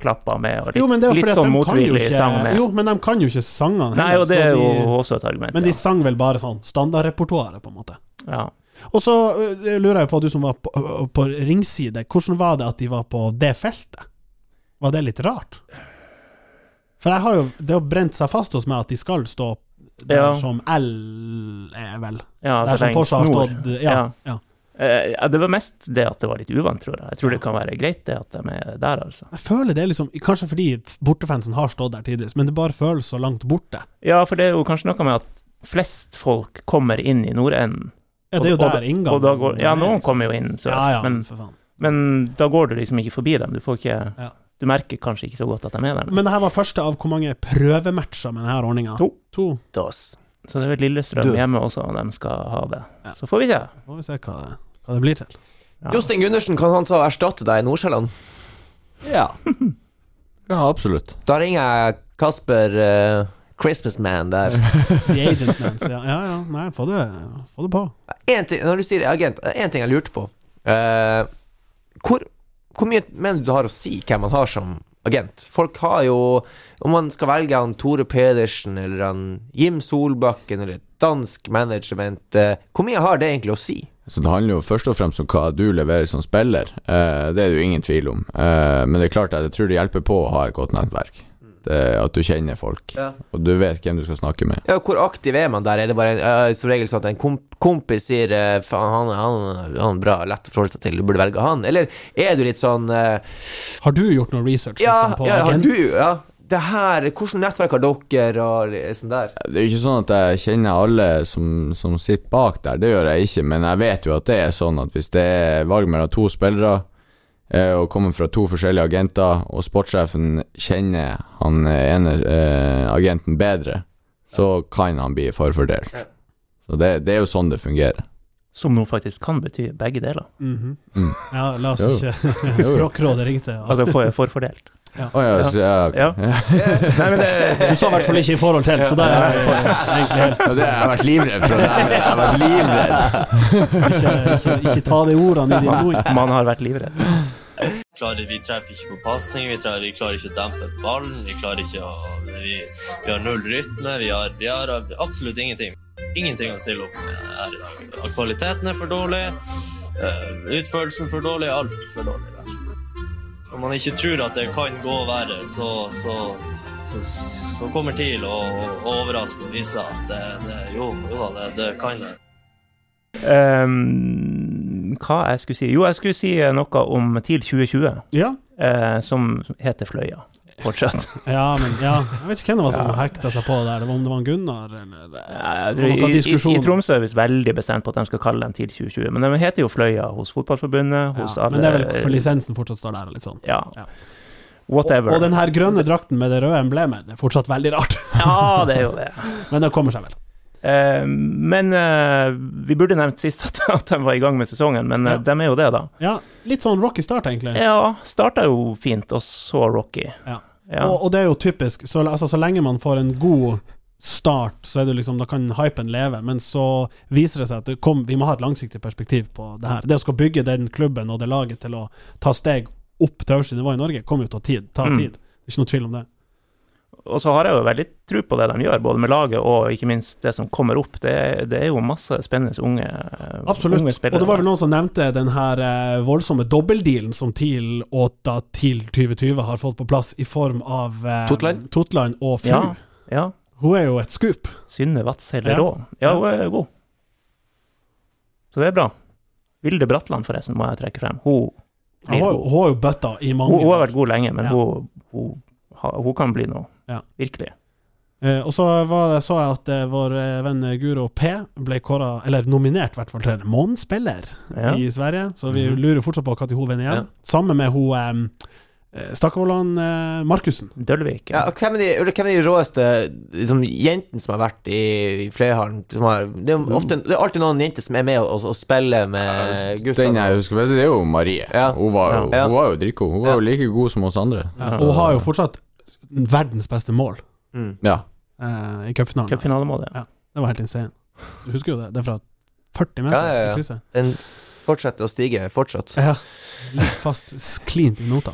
[SPEAKER 1] klappa med, og litt,
[SPEAKER 3] Jo, men det er jo
[SPEAKER 1] litt
[SPEAKER 3] fordi at
[SPEAKER 1] sånn
[SPEAKER 3] de kan jo
[SPEAKER 1] motvillig sang
[SPEAKER 3] ikke
[SPEAKER 1] med.
[SPEAKER 3] Jo, men de kan jo ikke sangene
[SPEAKER 1] Nei, og det
[SPEAKER 3] så
[SPEAKER 1] er jo
[SPEAKER 3] de,
[SPEAKER 1] også et argument.
[SPEAKER 3] Men de sang vel bare sånn standardrepertoaret, på en måte.
[SPEAKER 1] ja.
[SPEAKER 3] Og så øh, lurer jeg på, du som var på, øh, på ringside, hvordan var det at de var på det feltet? Var det litt rart? For jeg har jo, det har brent seg fast hos meg at de skal stå der
[SPEAKER 1] Ja.
[SPEAKER 3] som L er vel.
[SPEAKER 1] ja, ja
[SPEAKER 3] der
[SPEAKER 1] altså
[SPEAKER 3] som
[SPEAKER 1] lengst
[SPEAKER 3] fortsatt har
[SPEAKER 1] nord.
[SPEAKER 3] stått ja,
[SPEAKER 1] Ja.
[SPEAKER 3] ja.
[SPEAKER 1] Eh, ja, det var mest det at det var litt uvant, tror jeg. Jeg tror det kan være greit det at de er der, altså.
[SPEAKER 3] Jeg føler det er liksom Kanskje fordi bortefansen har stått der tidligere, men det bare føles så langt borte.
[SPEAKER 1] Ja, for det er jo kanskje noe med at flest folk kommer inn i nordenden.
[SPEAKER 3] Ja, det er jo
[SPEAKER 1] Og- og-
[SPEAKER 3] der inngangen
[SPEAKER 1] Og da går, ja,
[SPEAKER 3] er,
[SPEAKER 1] noen
[SPEAKER 3] liksom.
[SPEAKER 1] kommer jo inn sør,
[SPEAKER 3] Ja, ja, men,
[SPEAKER 1] men,
[SPEAKER 3] for faen.
[SPEAKER 1] men da går du liksom ikke forbi dem. Du får ikke
[SPEAKER 3] Ja.
[SPEAKER 1] Du merker kanskje ikke så godt at de er der.
[SPEAKER 3] Men det her var første av hvor mange prøvematcher med denne ordninga?
[SPEAKER 1] To.
[SPEAKER 3] to.
[SPEAKER 2] Dos.
[SPEAKER 1] Så det er vel Lillestrøm
[SPEAKER 2] Du.
[SPEAKER 1] hjemme også, og de skal ha det.
[SPEAKER 3] Ja.
[SPEAKER 1] Så får vi se.
[SPEAKER 3] Får vi se hva det, hva det blir til.
[SPEAKER 1] Ja.
[SPEAKER 2] Jostein Gundersen, kan han ta og erstatte deg i Nordsjælland?
[SPEAKER 4] Ja. Ja, absolutt.
[SPEAKER 2] Da ringer jeg Kasper eh, Christmasman der.
[SPEAKER 3] The Agent Mans, ja. ja, ja. Nei, få det, få det på.
[SPEAKER 2] En ting, når du sier agent, en ting jeg lurte på. Eh, hvor, hvor mye mener du det har å si hvem man har som agent? Folk har jo Om man skal velge han Tore Pedersen eller han Jim Solbakken eller et dansk management, eh, hvor mye har det egentlig å si?
[SPEAKER 4] Så det handler jo først og fremst om hva du leverer som spiller. Eh, det er det jo ingen tvil om. Eh, men det er klart at jeg tror det hjelper på å ha et godt nettverk. Det, at du kjenner folk,
[SPEAKER 2] Ja.
[SPEAKER 4] og du vet hvem du skal snakke med.
[SPEAKER 2] Ja, Hvor aktiv er man der? Er det bare en, eh, som regel sånn at en komp kompis sier eh, Faen, han, han, han er bra, lett å forholde seg til, du burde velge han. Eller er du litt sånn eh,
[SPEAKER 3] Har du gjort noe research
[SPEAKER 2] Ja,
[SPEAKER 3] liksom, på
[SPEAKER 2] ja, har
[SPEAKER 3] agent?
[SPEAKER 2] du ja, det her, hvordan nettverk har dere, og litt sånn der?
[SPEAKER 4] Det er jo ikke sånn at jeg kjenner alle som, som sitter bak der, det gjør jeg ikke, men jeg vet jo at det er sånn at hvis det er valg mellom to spillere, eh, og kommer fra to forskjellige agenter, og sportssjefen kjenner han ene eh, agenten bedre, så kan han bli forfordelt. Så det, det er jo sånn det fungerer.
[SPEAKER 1] Som nå faktisk kan bety begge
[SPEAKER 3] <laughs>
[SPEAKER 1] deler.
[SPEAKER 3] Mhm.
[SPEAKER 4] Mm.
[SPEAKER 3] Ja, la oss
[SPEAKER 4] Jo.
[SPEAKER 3] ikke
[SPEAKER 4] Jo.
[SPEAKER 3] <laughs> Språkrådet ringte. og-
[SPEAKER 1] Altså får jeg forfordelt.
[SPEAKER 4] Å ja, så, ja, ok.
[SPEAKER 1] Ja. Nei, men det
[SPEAKER 3] <laughs> Du sa i hvert fall ikke i forhold til, så da er jeg egentlig helt
[SPEAKER 4] ja, det har jeg vært livredd for. det her. Jeg har vært livredd.
[SPEAKER 3] ikke, ikke, ikke ta de ordene i dine ord.
[SPEAKER 1] Man har vært livredd.
[SPEAKER 5] klarer, vi treffer ikke på pasning, vi, treffer- vi klarer ikke å dempe ballen, vi klarer ikke å Vi, vi har null rytme, vi har, vi har absolutt ingenting. Ingenting å stille opp med her i dag. Kvaliteten er for dårlig, eh, utførelsen for dårlig, alt for dårlig. rett og slett. Når man ikke tror at det kan gå verre, så, så, så, så kommer TIL å å overraske og vise at det, det, jo, jo da, det, det kan det.
[SPEAKER 1] Ehm, hva jeg skulle si? Jo, jeg skulle si noe om TIL 2020,
[SPEAKER 3] Ja.
[SPEAKER 1] eh, som heter Fløya fortsatt.
[SPEAKER 3] <laughs> ja, men ja. Jeg vet ikke hvem det var som hekta seg på der. Det var om det var en Gunnar, eller
[SPEAKER 1] Ja,
[SPEAKER 3] Det var noen
[SPEAKER 1] I, i,
[SPEAKER 3] diskusjoner.
[SPEAKER 1] I Tromsø er vi veldig bestemt på at de skal kalle den TIL 2020, men de heter jo Fløya hos Fotballforbundet, hos
[SPEAKER 3] ja.
[SPEAKER 1] alle
[SPEAKER 3] Men det er vel for lisensen fortsatt står der, og litt sånn.
[SPEAKER 1] Ja.
[SPEAKER 3] Ja.
[SPEAKER 1] Whatever. <laughs>
[SPEAKER 3] Og, og den her grønne drakten med det røde emblemet, det er fortsatt veldig rart, <laughs>
[SPEAKER 1] Ja, det er jo det.
[SPEAKER 3] men det kommer seg vel.
[SPEAKER 1] Eh, men eh, vi burde nevnt sist at, <laughs> at de var i gang med sesongen, men eh,
[SPEAKER 3] Ja.
[SPEAKER 1] de er jo det, da.
[SPEAKER 3] Ja, litt sånn rocky start, egentlig.
[SPEAKER 1] Ja, starta jo fint, og så Rocky.
[SPEAKER 3] Ja.
[SPEAKER 1] Ja.
[SPEAKER 3] Og, og det er jo typisk. Så, altså, så lenge man får en god start, så er det liksom, da kan hypen leve. Men så viser det seg at det kom, vi må ha et langsiktig perspektiv på det her. Det å skal bygge den klubben og det laget til å ta steg opp til øverste nivå i Norge, kommer jo til å tid, ta
[SPEAKER 1] Mm.
[SPEAKER 3] tid. Det er ikke noe tvil om det.
[SPEAKER 1] Og så har jeg jo veldig tro på det de gjør, både med laget og ikke minst det som kommer opp. Det, det er jo masse spennende unge, eh,
[SPEAKER 3] Absolutt.
[SPEAKER 1] unge
[SPEAKER 3] Og
[SPEAKER 1] spillere.
[SPEAKER 3] det var vel noen som nevnte den her eh, voldsomme dobbeldealen som TIL og da TIL 2020 har fått på plass i form av eh,
[SPEAKER 2] Totland?
[SPEAKER 3] Totland og Fru.
[SPEAKER 1] Ja, ja.
[SPEAKER 3] Hun er jo et skup.
[SPEAKER 1] Synne Vadsheil
[SPEAKER 3] Ja.
[SPEAKER 1] Rå. Ja, hun er god. Så det er bra. Vilde Bratland, forresten, må jeg trekke frem. Hun,
[SPEAKER 3] Hun,
[SPEAKER 1] blir
[SPEAKER 3] har-
[SPEAKER 1] god.
[SPEAKER 3] hun har jo bøtta i mange
[SPEAKER 1] hun, hun har vært god lenge, men
[SPEAKER 3] Ja.
[SPEAKER 1] hun, hun, har- hun kan bli noe.
[SPEAKER 3] Ja.
[SPEAKER 1] Virkelig.
[SPEAKER 3] Eh, og så var det, så jeg at eh, vår eh, venn Guro P ble kåra, eller nominert i hvert fall, til månedsspiller
[SPEAKER 1] Ja.
[SPEAKER 3] i Sverige. Så vi
[SPEAKER 1] Mhm.
[SPEAKER 3] lurer fortsatt på når hun vinner igjen.
[SPEAKER 2] Ja.
[SPEAKER 3] Sammen med hun eh, eh, Stakkevollan eh, Markussen.
[SPEAKER 1] Dølvik.
[SPEAKER 2] Ja, og hvem er de, eller hvem er de råeste liksom, jentene som har vært i, i Fløyhallen? Som har, det, er jo ofte, det er alltid noen jenter som er med og, og, og spiller med
[SPEAKER 4] Den
[SPEAKER 2] guttene.
[SPEAKER 4] jeg husker best, det er jo Marie.
[SPEAKER 2] Eh, Ja.
[SPEAKER 4] Hun var jo,
[SPEAKER 2] Ja.
[SPEAKER 4] hun var jo dritgod. Hun var jo like god som oss andre.
[SPEAKER 3] Og hun har jo fortsatt verdens beste mål
[SPEAKER 2] Mm.
[SPEAKER 4] Ja.
[SPEAKER 3] eh, i cupfinalen.
[SPEAKER 1] Cupfinalemålet.
[SPEAKER 3] Ja. Det var helt insane. Du husker jo det? Det er fra 40 meter.
[SPEAKER 2] Ja, ja, ja.
[SPEAKER 3] i krysset.
[SPEAKER 2] Den fortsetter å stige fortsatt.
[SPEAKER 3] Ja. Ligger fast s- cleant i nota.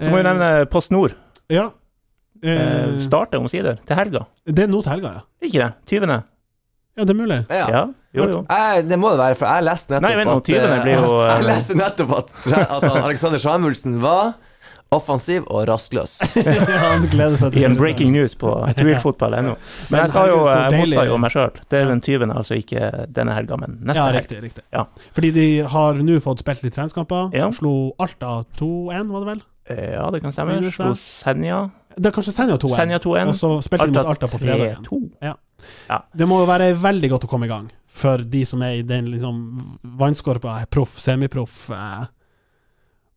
[SPEAKER 1] Så må vi nevne Post Nord.
[SPEAKER 3] Eh, Ja.
[SPEAKER 1] Eh,
[SPEAKER 3] Eh,
[SPEAKER 1] starter omsider, til helga.
[SPEAKER 3] det er nå til helga, ja.
[SPEAKER 1] Ikke det? 20.
[SPEAKER 3] Ja, det er
[SPEAKER 1] <laughs>
[SPEAKER 3] mulig. <laughs>
[SPEAKER 2] Ja.
[SPEAKER 1] Ja. Jo, jo.
[SPEAKER 2] Jeg, det må det være, for jeg leste nettopp
[SPEAKER 1] Nei, vent nå,
[SPEAKER 2] at eh,
[SPEAKER 1] tyvene blir jo, eh,
[SPEAKER 2] <laughs> Jeg leste nettopp at, at han Alexander Samuelsen var offensiv og rastløs.
[SPEAKER 3] Han gleder seg
[SPEAKER 1] I
[SPEAKER 3] til
[SPEAKER 1] en breaking news
[SPEAKER 3] <laughs>
[SPEAKER 1] på twilfotball.no. Men jeg sa jo,
[SPEAKER 3] herregud, hvor
[SPEAKER 1] jeg mossa
[SPEAKER 3] deilig-
[SPEAKER 1] jo meg sjøl. Det
[SPEAKER 3] Ja.
[SPEAKER 1] er den 20., altså ikke denne helga, men neste
[SPEAKER 3] Ja,
[SPEAKER 1] helg.
[SPEAKER 3] riktig. riktig
[SPEAKER 1] Ja.
[SPEAKER 3] Fordi de har nå fått spilt litt treningskamper.
[SPEAKER 1] Ja.
[SPEAKER 3] Slo Alta 2-1, var det vel?
[SPEAKER 1] Eh, Ja, det kan stemme.
[SPEAKER 3] Minus
[SPEAKER 1] Slo
[SPEAKER 3] det.
[SPEAKER 1] Senja.
[SPEAKER 3] Det er kanskje Senja 2-1.
[SPEAKER 1] Senja 2-1.
[SPEAKER 3] Og så spilte de mot Alta på fredag.
[SPEAKER 1] 3-2.
[SPEAKER 3] Det må jo være veldig godt å komme i gang for de som er i den liksom vannskorpa, proff, semiproff. Eh.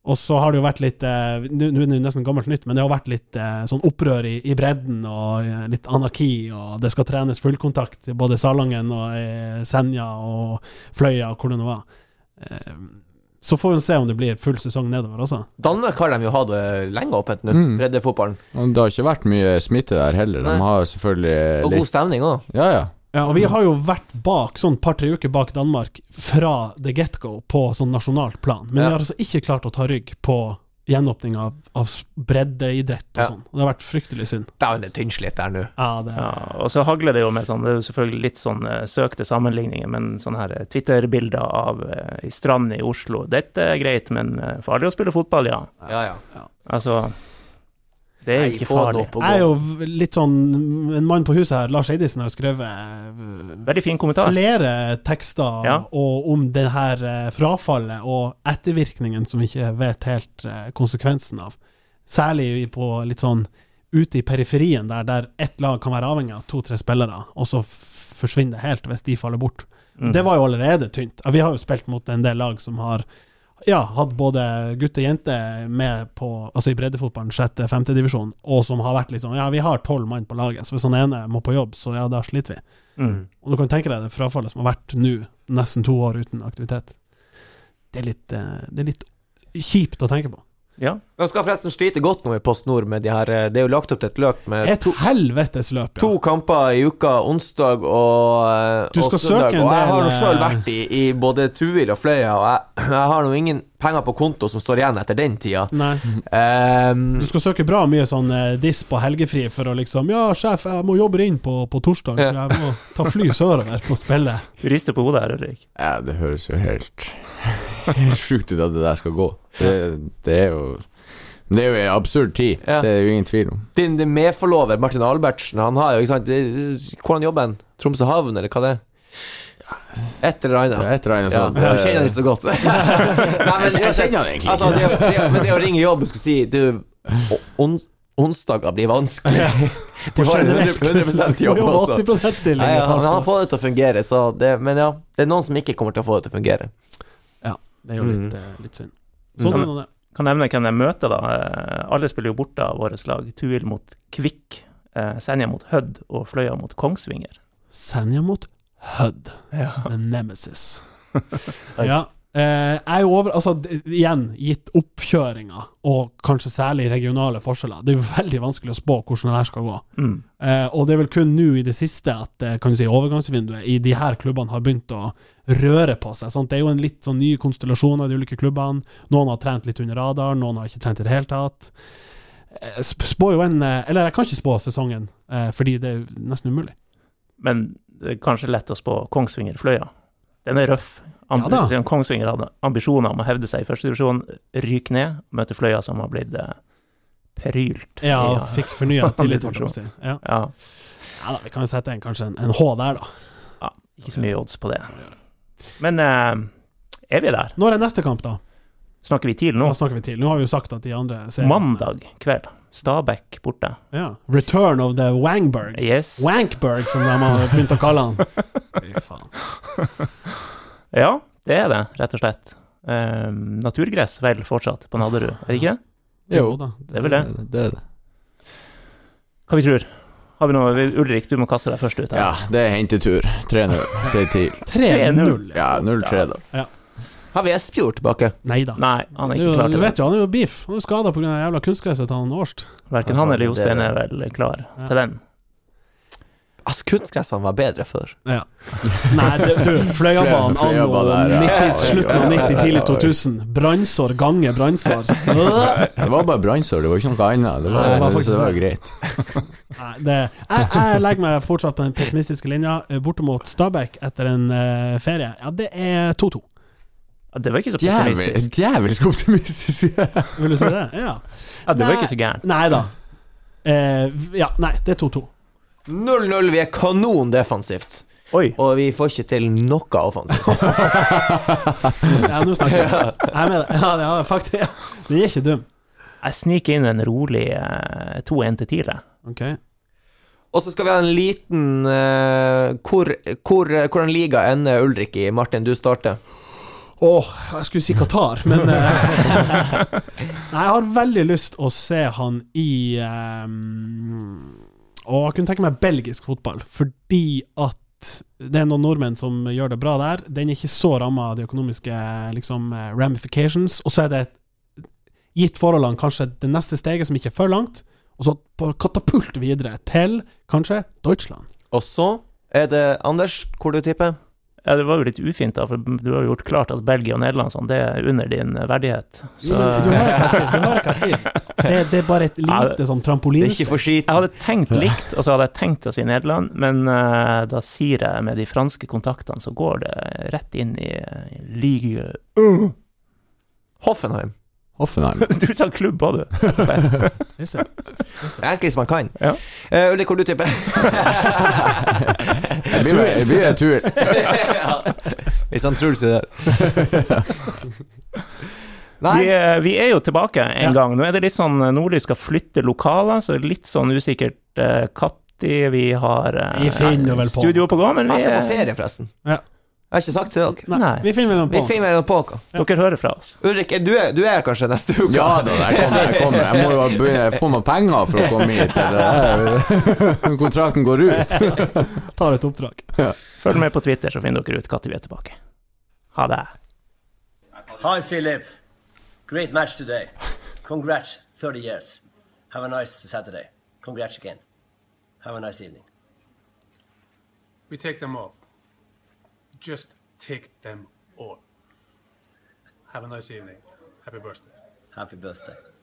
[SPEAKER 3] Og så har det jo vært litt eh, Nå nå er det jo nesten gammelt nytt, men det har vært litt eh, sånn opprør i, i bredden, og eh, litt anarki, og det skal trenes fullkontakt i både Salangen og eh, Senja og Fløya og hvor det nå var. Eh, så får vi se om det blir full sesong nedover også.
[SPEAKER 2] Danmark har de jo hatt det lenge åpent nå,
[SPEAKER 4] Mm.
[SPEAKER 2] breddefotballen.
[SPEAKER 4] Og det har ikke vært mye smitte der heller.
[SPEAKER 2] Nei.
[SPEAKER 4] De har jo selvfølgelig
[SPEAKER 2] Og god
[SPEAKER 4] litt
[SPEAKER 2] stemning òg.
[SPEAKER 4] Ja, ja.
[SPEAKER 3] Ja, og vi har jo vært bak, sånn par-tre uker bak Danmark fra the get-go på sånn nasjonalt plan, men
[SPEAKER 2] Ja.
[SPEAKER 3] vi har altså ikke klart å ta rygg på gjenåpning av, av breddeidrett og
[SPEAKER 2] Ja.
[SPEAKER 3] sånn. Det har vært fryktelig synd.
[SPEAKER 2] Dæven, det er tynnslitt der nå.
[SPEAKER 3] Ja, det
[SPEAKER 1] Ja, og så hagler det jo med sånn, det er jo selvfølgelig litt sånn eh, søkte sammenligninger, men sånne her eh, Twitter-bilder av eh, i strand i Oslo. Dette er greit, men eh, farlig å spille fotball, ja.
[SPEAKER 2] Ja, ja.
[SPEAKER 1] Altså, det er jo ikke farlig.
[SPEAKER 3] jeg er jo v- litt sånn en mann på huset her, Lars Eidesen, har jo skrevet eh,
[SPEAKER 1] Veldig fin kommentar.
[SPEAKER 3] flere tekster
[SPEAKER 1] Ja.
[SPEAKER 3] og om det her eh, frafallet og ettervirkningen som vi ikke vet helt eh, konsekvensen av. Særlig på litt sånn ute i periferien, der, der ett lag kan være avhengig av to-tre spillere, og så f- forsvinner det helt hvis de faller bort.
[SPEAKER 1] Mm.
[SPEAKER 3] Det var jo allerede tynt. Ja, Vi har jo spilt mot en del lag som har ja, hatt både gutt og jente med på, altså i breddefotballen, sjette-femtedivisjon, og som har vært litt sånn Ja, vi har tolv mann på laget, så hvis han ene må på jobb, så ja, da sliter vi.
[SPEAKER 1] mm.
[SPEAKER 3] Og du kan tenke deg det frafallet som har vært nå, nesten to år uten aktivitet. Det er litt, eh, det er litt kjipt å tenke på.
[SPEAKER 1] Ja.
[SPEAKER 2] De skal forresten slite godt nå i Post Nord med de her eh, Det er jo lagt opp til et løp med
[SPEAKER 3] Et helvetes løp,
[SPEAKER 2] to
[SPEAKER 3] ja.
[SPEAKER 2] kamper i uka, onsdag og, eh,
[SPEAKER 3] Du skal
[SPEAKER 2] og søndag.
[SPEAKER 3] søke en
[SPEAKER 2] og jeg
[SPEAKER 3] del,
[SPEAKER 2] har nå
[SPEAKER 3] eh,
[SPEAKER 2] sjøl vært i, i både Tuil og Fløya, og jeg, jeg har nå ingen penger på konto som står igjen etter den tida.
[SPEAKER 3] Nei.
[SPEAKER 2] Ehm,
[SPEAKER 3] Du skal søke bra mye sånn eh, diss på helgefri for å liksom Ja, sjef, jeg må jobbe inn på, på torsdag, så jeg må ta fly sørover på
[SPEAKER 2] <laughs>
[SPEAKER 3] spillet.
[SPEAKER 1] Du rister på hodet her, Ulrik.
[SPEAKER 4] Ja, det høres jo helt Helt sjukt ut at det der skal gå. Det, det er jo Det er jo en absurd tid.
[SPEAKER 2] Ja.
[SPEAKER 4] Det er jo ingen tvil om.
[SPEAKER 2] din din medforlover Martin Albertsen, han har jo ikke sant det- Hvordan jobber han? Tromsø havn, eller hva det er? Et eller annet.
[SPEAKER 4] Et eller annet
[SPEAKER 2] Ja,
[SPEAKER 4] sånt.
[SPEAKER 2] jeg kjenner det ikke så
[SPEAKER 4] <laughs>
[SPEAKER 2] godt. Nei, men,
[SPEAKER 4] Jeg kjenner han egentlig
[SPEAKER 2] altså, det, å- det, å- men det å ringe jobb og skulle si Du, o- on, onsdager blir vanskelig. Du har en 100, 100 jobb,
[SPEAKER 3] Du har
[SPEAKER 2] altså.
[SPEAKER 3] 80 stilling.
[SPEAKER 2] Nei,
[SPEAKER 3] et
[SPEAKER 2] han, han har
[SPEAKER 3] halvt år.
[SPEAKER 2] fått det til å fungere, så det, men ja, det er noen som ikke kommer til å få det til å fungere.
[SPEAKER 3] Det er jo
[SPEAKER 2] Mm.
[SPEAKER 3] litt, eh, litt synd. Sånn er nå det.
[SPEAKER 1] Kan nevne hvem jeg møter, da. Eh, Alle spiller jo borte av våre slag. Tuil mot Kvikk, eh, Senja mot Hødd og Fløya mot Kongsvinger.
[SPEAKER 3] Senja mot Hud.
[SPEAKER 1] Ja.
[SPEAKER 3] The Nemesis. ja. Eh, jeg er jo over, altså, d- igjen, gitt oppkjøringa, og kanskje særlig regionale forskjeller, det er jo veldig vanskelig å spå hvordan det her skal gå.
[SPEAKER 1] Mm.
[SPEAKER 3] Eh, og det er vel kun nå i det siste at eh, kan du si, overgangsvinduet i de her klubbene har begynt å røre på seg. Sant? Det er jo en litt sånn ny konstellasjon av de ulike klubbene. Noen har trent litt under radaren, noen har ikke trent i det hele tatt. Eh, sp- spår jo en eh, Eller jeg kan ikke spå sesongen, eh, fordi det er jo nesten umulig.
[SPEAKER 1] Men det er kanskje lett å spå Kongsvinger-Fløya. Den er røff. Amb-
[SPEAKER 3] Ja da.
[SPEAKER 1] siden Kongsvinger hadde ambisjoner om å hevde seg i første divisjon, ryk ned, møte Fløya som har blitt eh, prylt.
[SPEAKER 3] Ja,
[SPEAKER 1] i, eh,
[SPEAKER 3] fikk fornya tillit, holdt jeg på å si. Ja.
[SPEAKER 1] ja,
[SPEAKER 3] ja da, vi kan jo sette en, kanskje en, en H der, da.
[SPEAKER 1] ikke så mye odds på det. Men eh, er vi der?
[SPEAKER 3] Når er neste kamp, da?
[SPEAKER 1] Snakker vi TIL nå?
[SPEAKER 3] Hva snakker vi til? Nå har vi jo sagt at de andre seriene-
[SPEAKER 1] Mandag kveld. Stabæk borte.
[SPEAKER 3] Ja. Return of the Wangberg.
[SPEAKER 1] Yes.
[SPEAKER 3] Wankberg, som de har begynt å kalle han. Fy faen.
[SPEAKER 1] Ja, det er det, rett og slett. Eh, naturgress vel fortsatt på Nadderud, er det ikke det?
[SPEAKER 4] Jo,
[SPEAKER 3] da.
[SPEAKER 1] Det er vel det.
[SPEAKER 4] det er det.
[SPEAKER 1] Hva vi tror. Har vi noe Ulrik, du må kaste deg først ut
[SPEAKER 4] Ja,
[SPEAKER 1] her.
[SPEAKER 4] det er hentetur. 3-0 <laughs> til TIL.
[SPEAKER 3] 3-0.
[SPEAKER 4] Ja, 0-3, da.
[SPEAKER 2] Har vi Espejord tilbake?
[SPEAKER 3] Nei da.
[SPEAKER 1] Nei, han er ikke
[SPEAKER 3] Du,
[SPEAKER 1] klar
[SPEAKER 3] du
[SPEAKER 1] til
[SPEAKER 3] vet
[SPEAKER 1] det.
[SPEAKER 3] jo, han er jo beef. Han er jo skada pga. jævla kunstgresset til han Årst.
[SPEAKER 1] Verken han eller Jostein er vel klar
[SPEAKER 3] Ja.
[SPEAKER 1] til den.
[SPEAKER 2] Altså, kunstgressene var bedre før. <laughs>
[SPEAKER 3] Ja. Nei, det, du, Fløyabanen
[SPEAKER 4] Fløy-
[SPEAKER 3] anno
[SPEAKER 4] Fløyabanen der, ja.
[SPEAKER 3] 90, slutten av 90, tidlig 2000. Brannsår ganger brannsår. Øh.
[SPEAKER 4] Det var bare brannsår, det var ikke noe annet. Det var,
[SPEAKER 3] Nei, det var
[SPEAKER 4] så
[SPEAKER 3] faktisk
[SPEAKER 4] det var
[SPEAKER 3] det.
[SPEAKER 4] greit.
[SPEAKER 3] Nei, det, jeg, jeg legger meg fortsatt på den pessimistiske linja. Eh, Bortimot Stabæk etter en eh, ferie. Ja, det er 2-2.
[SPEAKER 1] Ja, det var ikke så
[SPEAKER 4] Djevel,
[SPEAKER 1] pessimistisk.
[SPEAKER 4] djevelsk optimistisk.
[SPEAKER 3] Vil du si det? Ja.
[SPEAKER 1] Ja, det var
[SPEAKER 3] Nei.
[SPEAKER 1] ikke så gærent.
[SPEAKER 3] Nei da. Eh, ja, nei, det er 2-2.
[SPEAKER 2] 0-0. Vi er kanon defensivt.
[SPEAKER 1] Oi.
[SPEAKER 2] Og vi får ikke til noe offensivt.
[SPEAKER 3] Ja, nå snakker jeg. Jeg er med deg. Ja, det er faktisk ja. Den er ikke dum.
[SPEAKER 1] Jeg sniker inn en rolig eh, 2-1 til TIL. jeg.
[SPEAKER 3] Ok.
[SPEAKER 2] Og så skal vi ha en liten eh, hvor, hvor, Hvordan liga ender Ulrik i? Martin, du starter.
[SPEAKER 3] Åh, jeg skulle si Qatar, men eh, <laughs> Nei, jeg har veldig lyst å se han i eh, Og jeg kunne tenke meg belgisk fotball, fordi at det er noen nordmenn som gjør det bra der. Den er ikke så ramma av de økonomiske liksom, eh, ramifications. Og så er det, gitt forholdene, kanskje det neste steget som ikke er for langt. Og så på katapult videre til kanskje Deutschland.
[SPEAKER 2] Og så er det Anders, hvor du tipper?
[SPEAKER 1] Ja, det var jo litt ufint, da, for du har jo gjort klart at Belgia og Nederland sånn, det er under din verdighet.
[SPEAKER 3] Du,
[SPEAKER 1] Så
[SPEAKER 3] du hører hva jeg sier. Du hører hva jeg sier. Det, det er bare et
[SPEAKER 1] Ja,
[SPEAKER 3] lite sånn
[SPEAKER 2] Det
[SPEAKER 3] trampoline.
[SPEAKER 2] er ikke for skit.
[SPEAKER 1] jeg hadde tenkt likt, og så hadde jeg tenkt å si Nederland, men eh, da sier jeg med de franske kontaktene, så går det rett inn i i Ligue <laughs>
[SPEAKER 2] Hoffenheim.
[SPEAKER 4] Hoffenheim.
[SPEAKER 1] Du sa klubb, var du?
[SPEAKER 3] Det ser jeg.
[SPEAKER 2] Det er Enkelt som man kan.
[SPEAKER 1] Ja.
[SPEAKER 2] Eh, Ulrik, hvor
[SPEAKER 1] <laughs>
[SPEAKER 2] du tipper?
[SPEAKER 4] Det blir, det blir en tur.
[SPEAKER 2] ja. Hvis han Truls er der. Nei,
[SPEAKER 1] Vi, er- vi er jo tilbake en
[SPEAKER 3] Ja.
[SPEAKER 1] gang. Nå er det litt sånn eh, Nordlys skal flytte lokaler, så litt sånn usikkert eh, når vi har eh,
[SPEAKER 3] Vi finner vel på.
[SPEAKER 1] studio på gå, men vi
[SPEAKER 2] jeg skal
[SPEAKER 1] er
[SPEAKER 2] på ferie, forresten.
[SPEAKER 3] Ja.
[SPEAKER 2] Jeg har ikke sagt til dere.
[SPEAKER 3] Nei,
[SPEAKER 1] Nei.
[SPEAKER 3] vi finner vel noen
[SPEAKER 2] Vi
[SPEAKER 3] på.
[SPEAKER 2] finner noe på hva.
[SPEAKER 1] Dere hører fra oss.
[SPEAKER 2] Ulrik, er du, du er kanskje neste uke?
[SPEAKER 4] Ja da, jeg kommer. Jeg, kommer. jeg må jo begynne få meg penger for å komme hit. Det er- <laughs> Kontrakten går ut.
[SPEAKER 3] Tar et oppdrag.
[SPEAKER 1] Følg med på Twitter, så finner dere ut når vi er tilbake. Ha det.
[SPEAKER 6] Hi, Philip. Great match today. Congrats, 30 years. Have a nice Saturday. Congrats again. Have a nice evening.
[SPEAKER 7] We take them all. Just take them all. Have a nice evening. Happy birthday.
[SPEAKER 6] Happy birthday.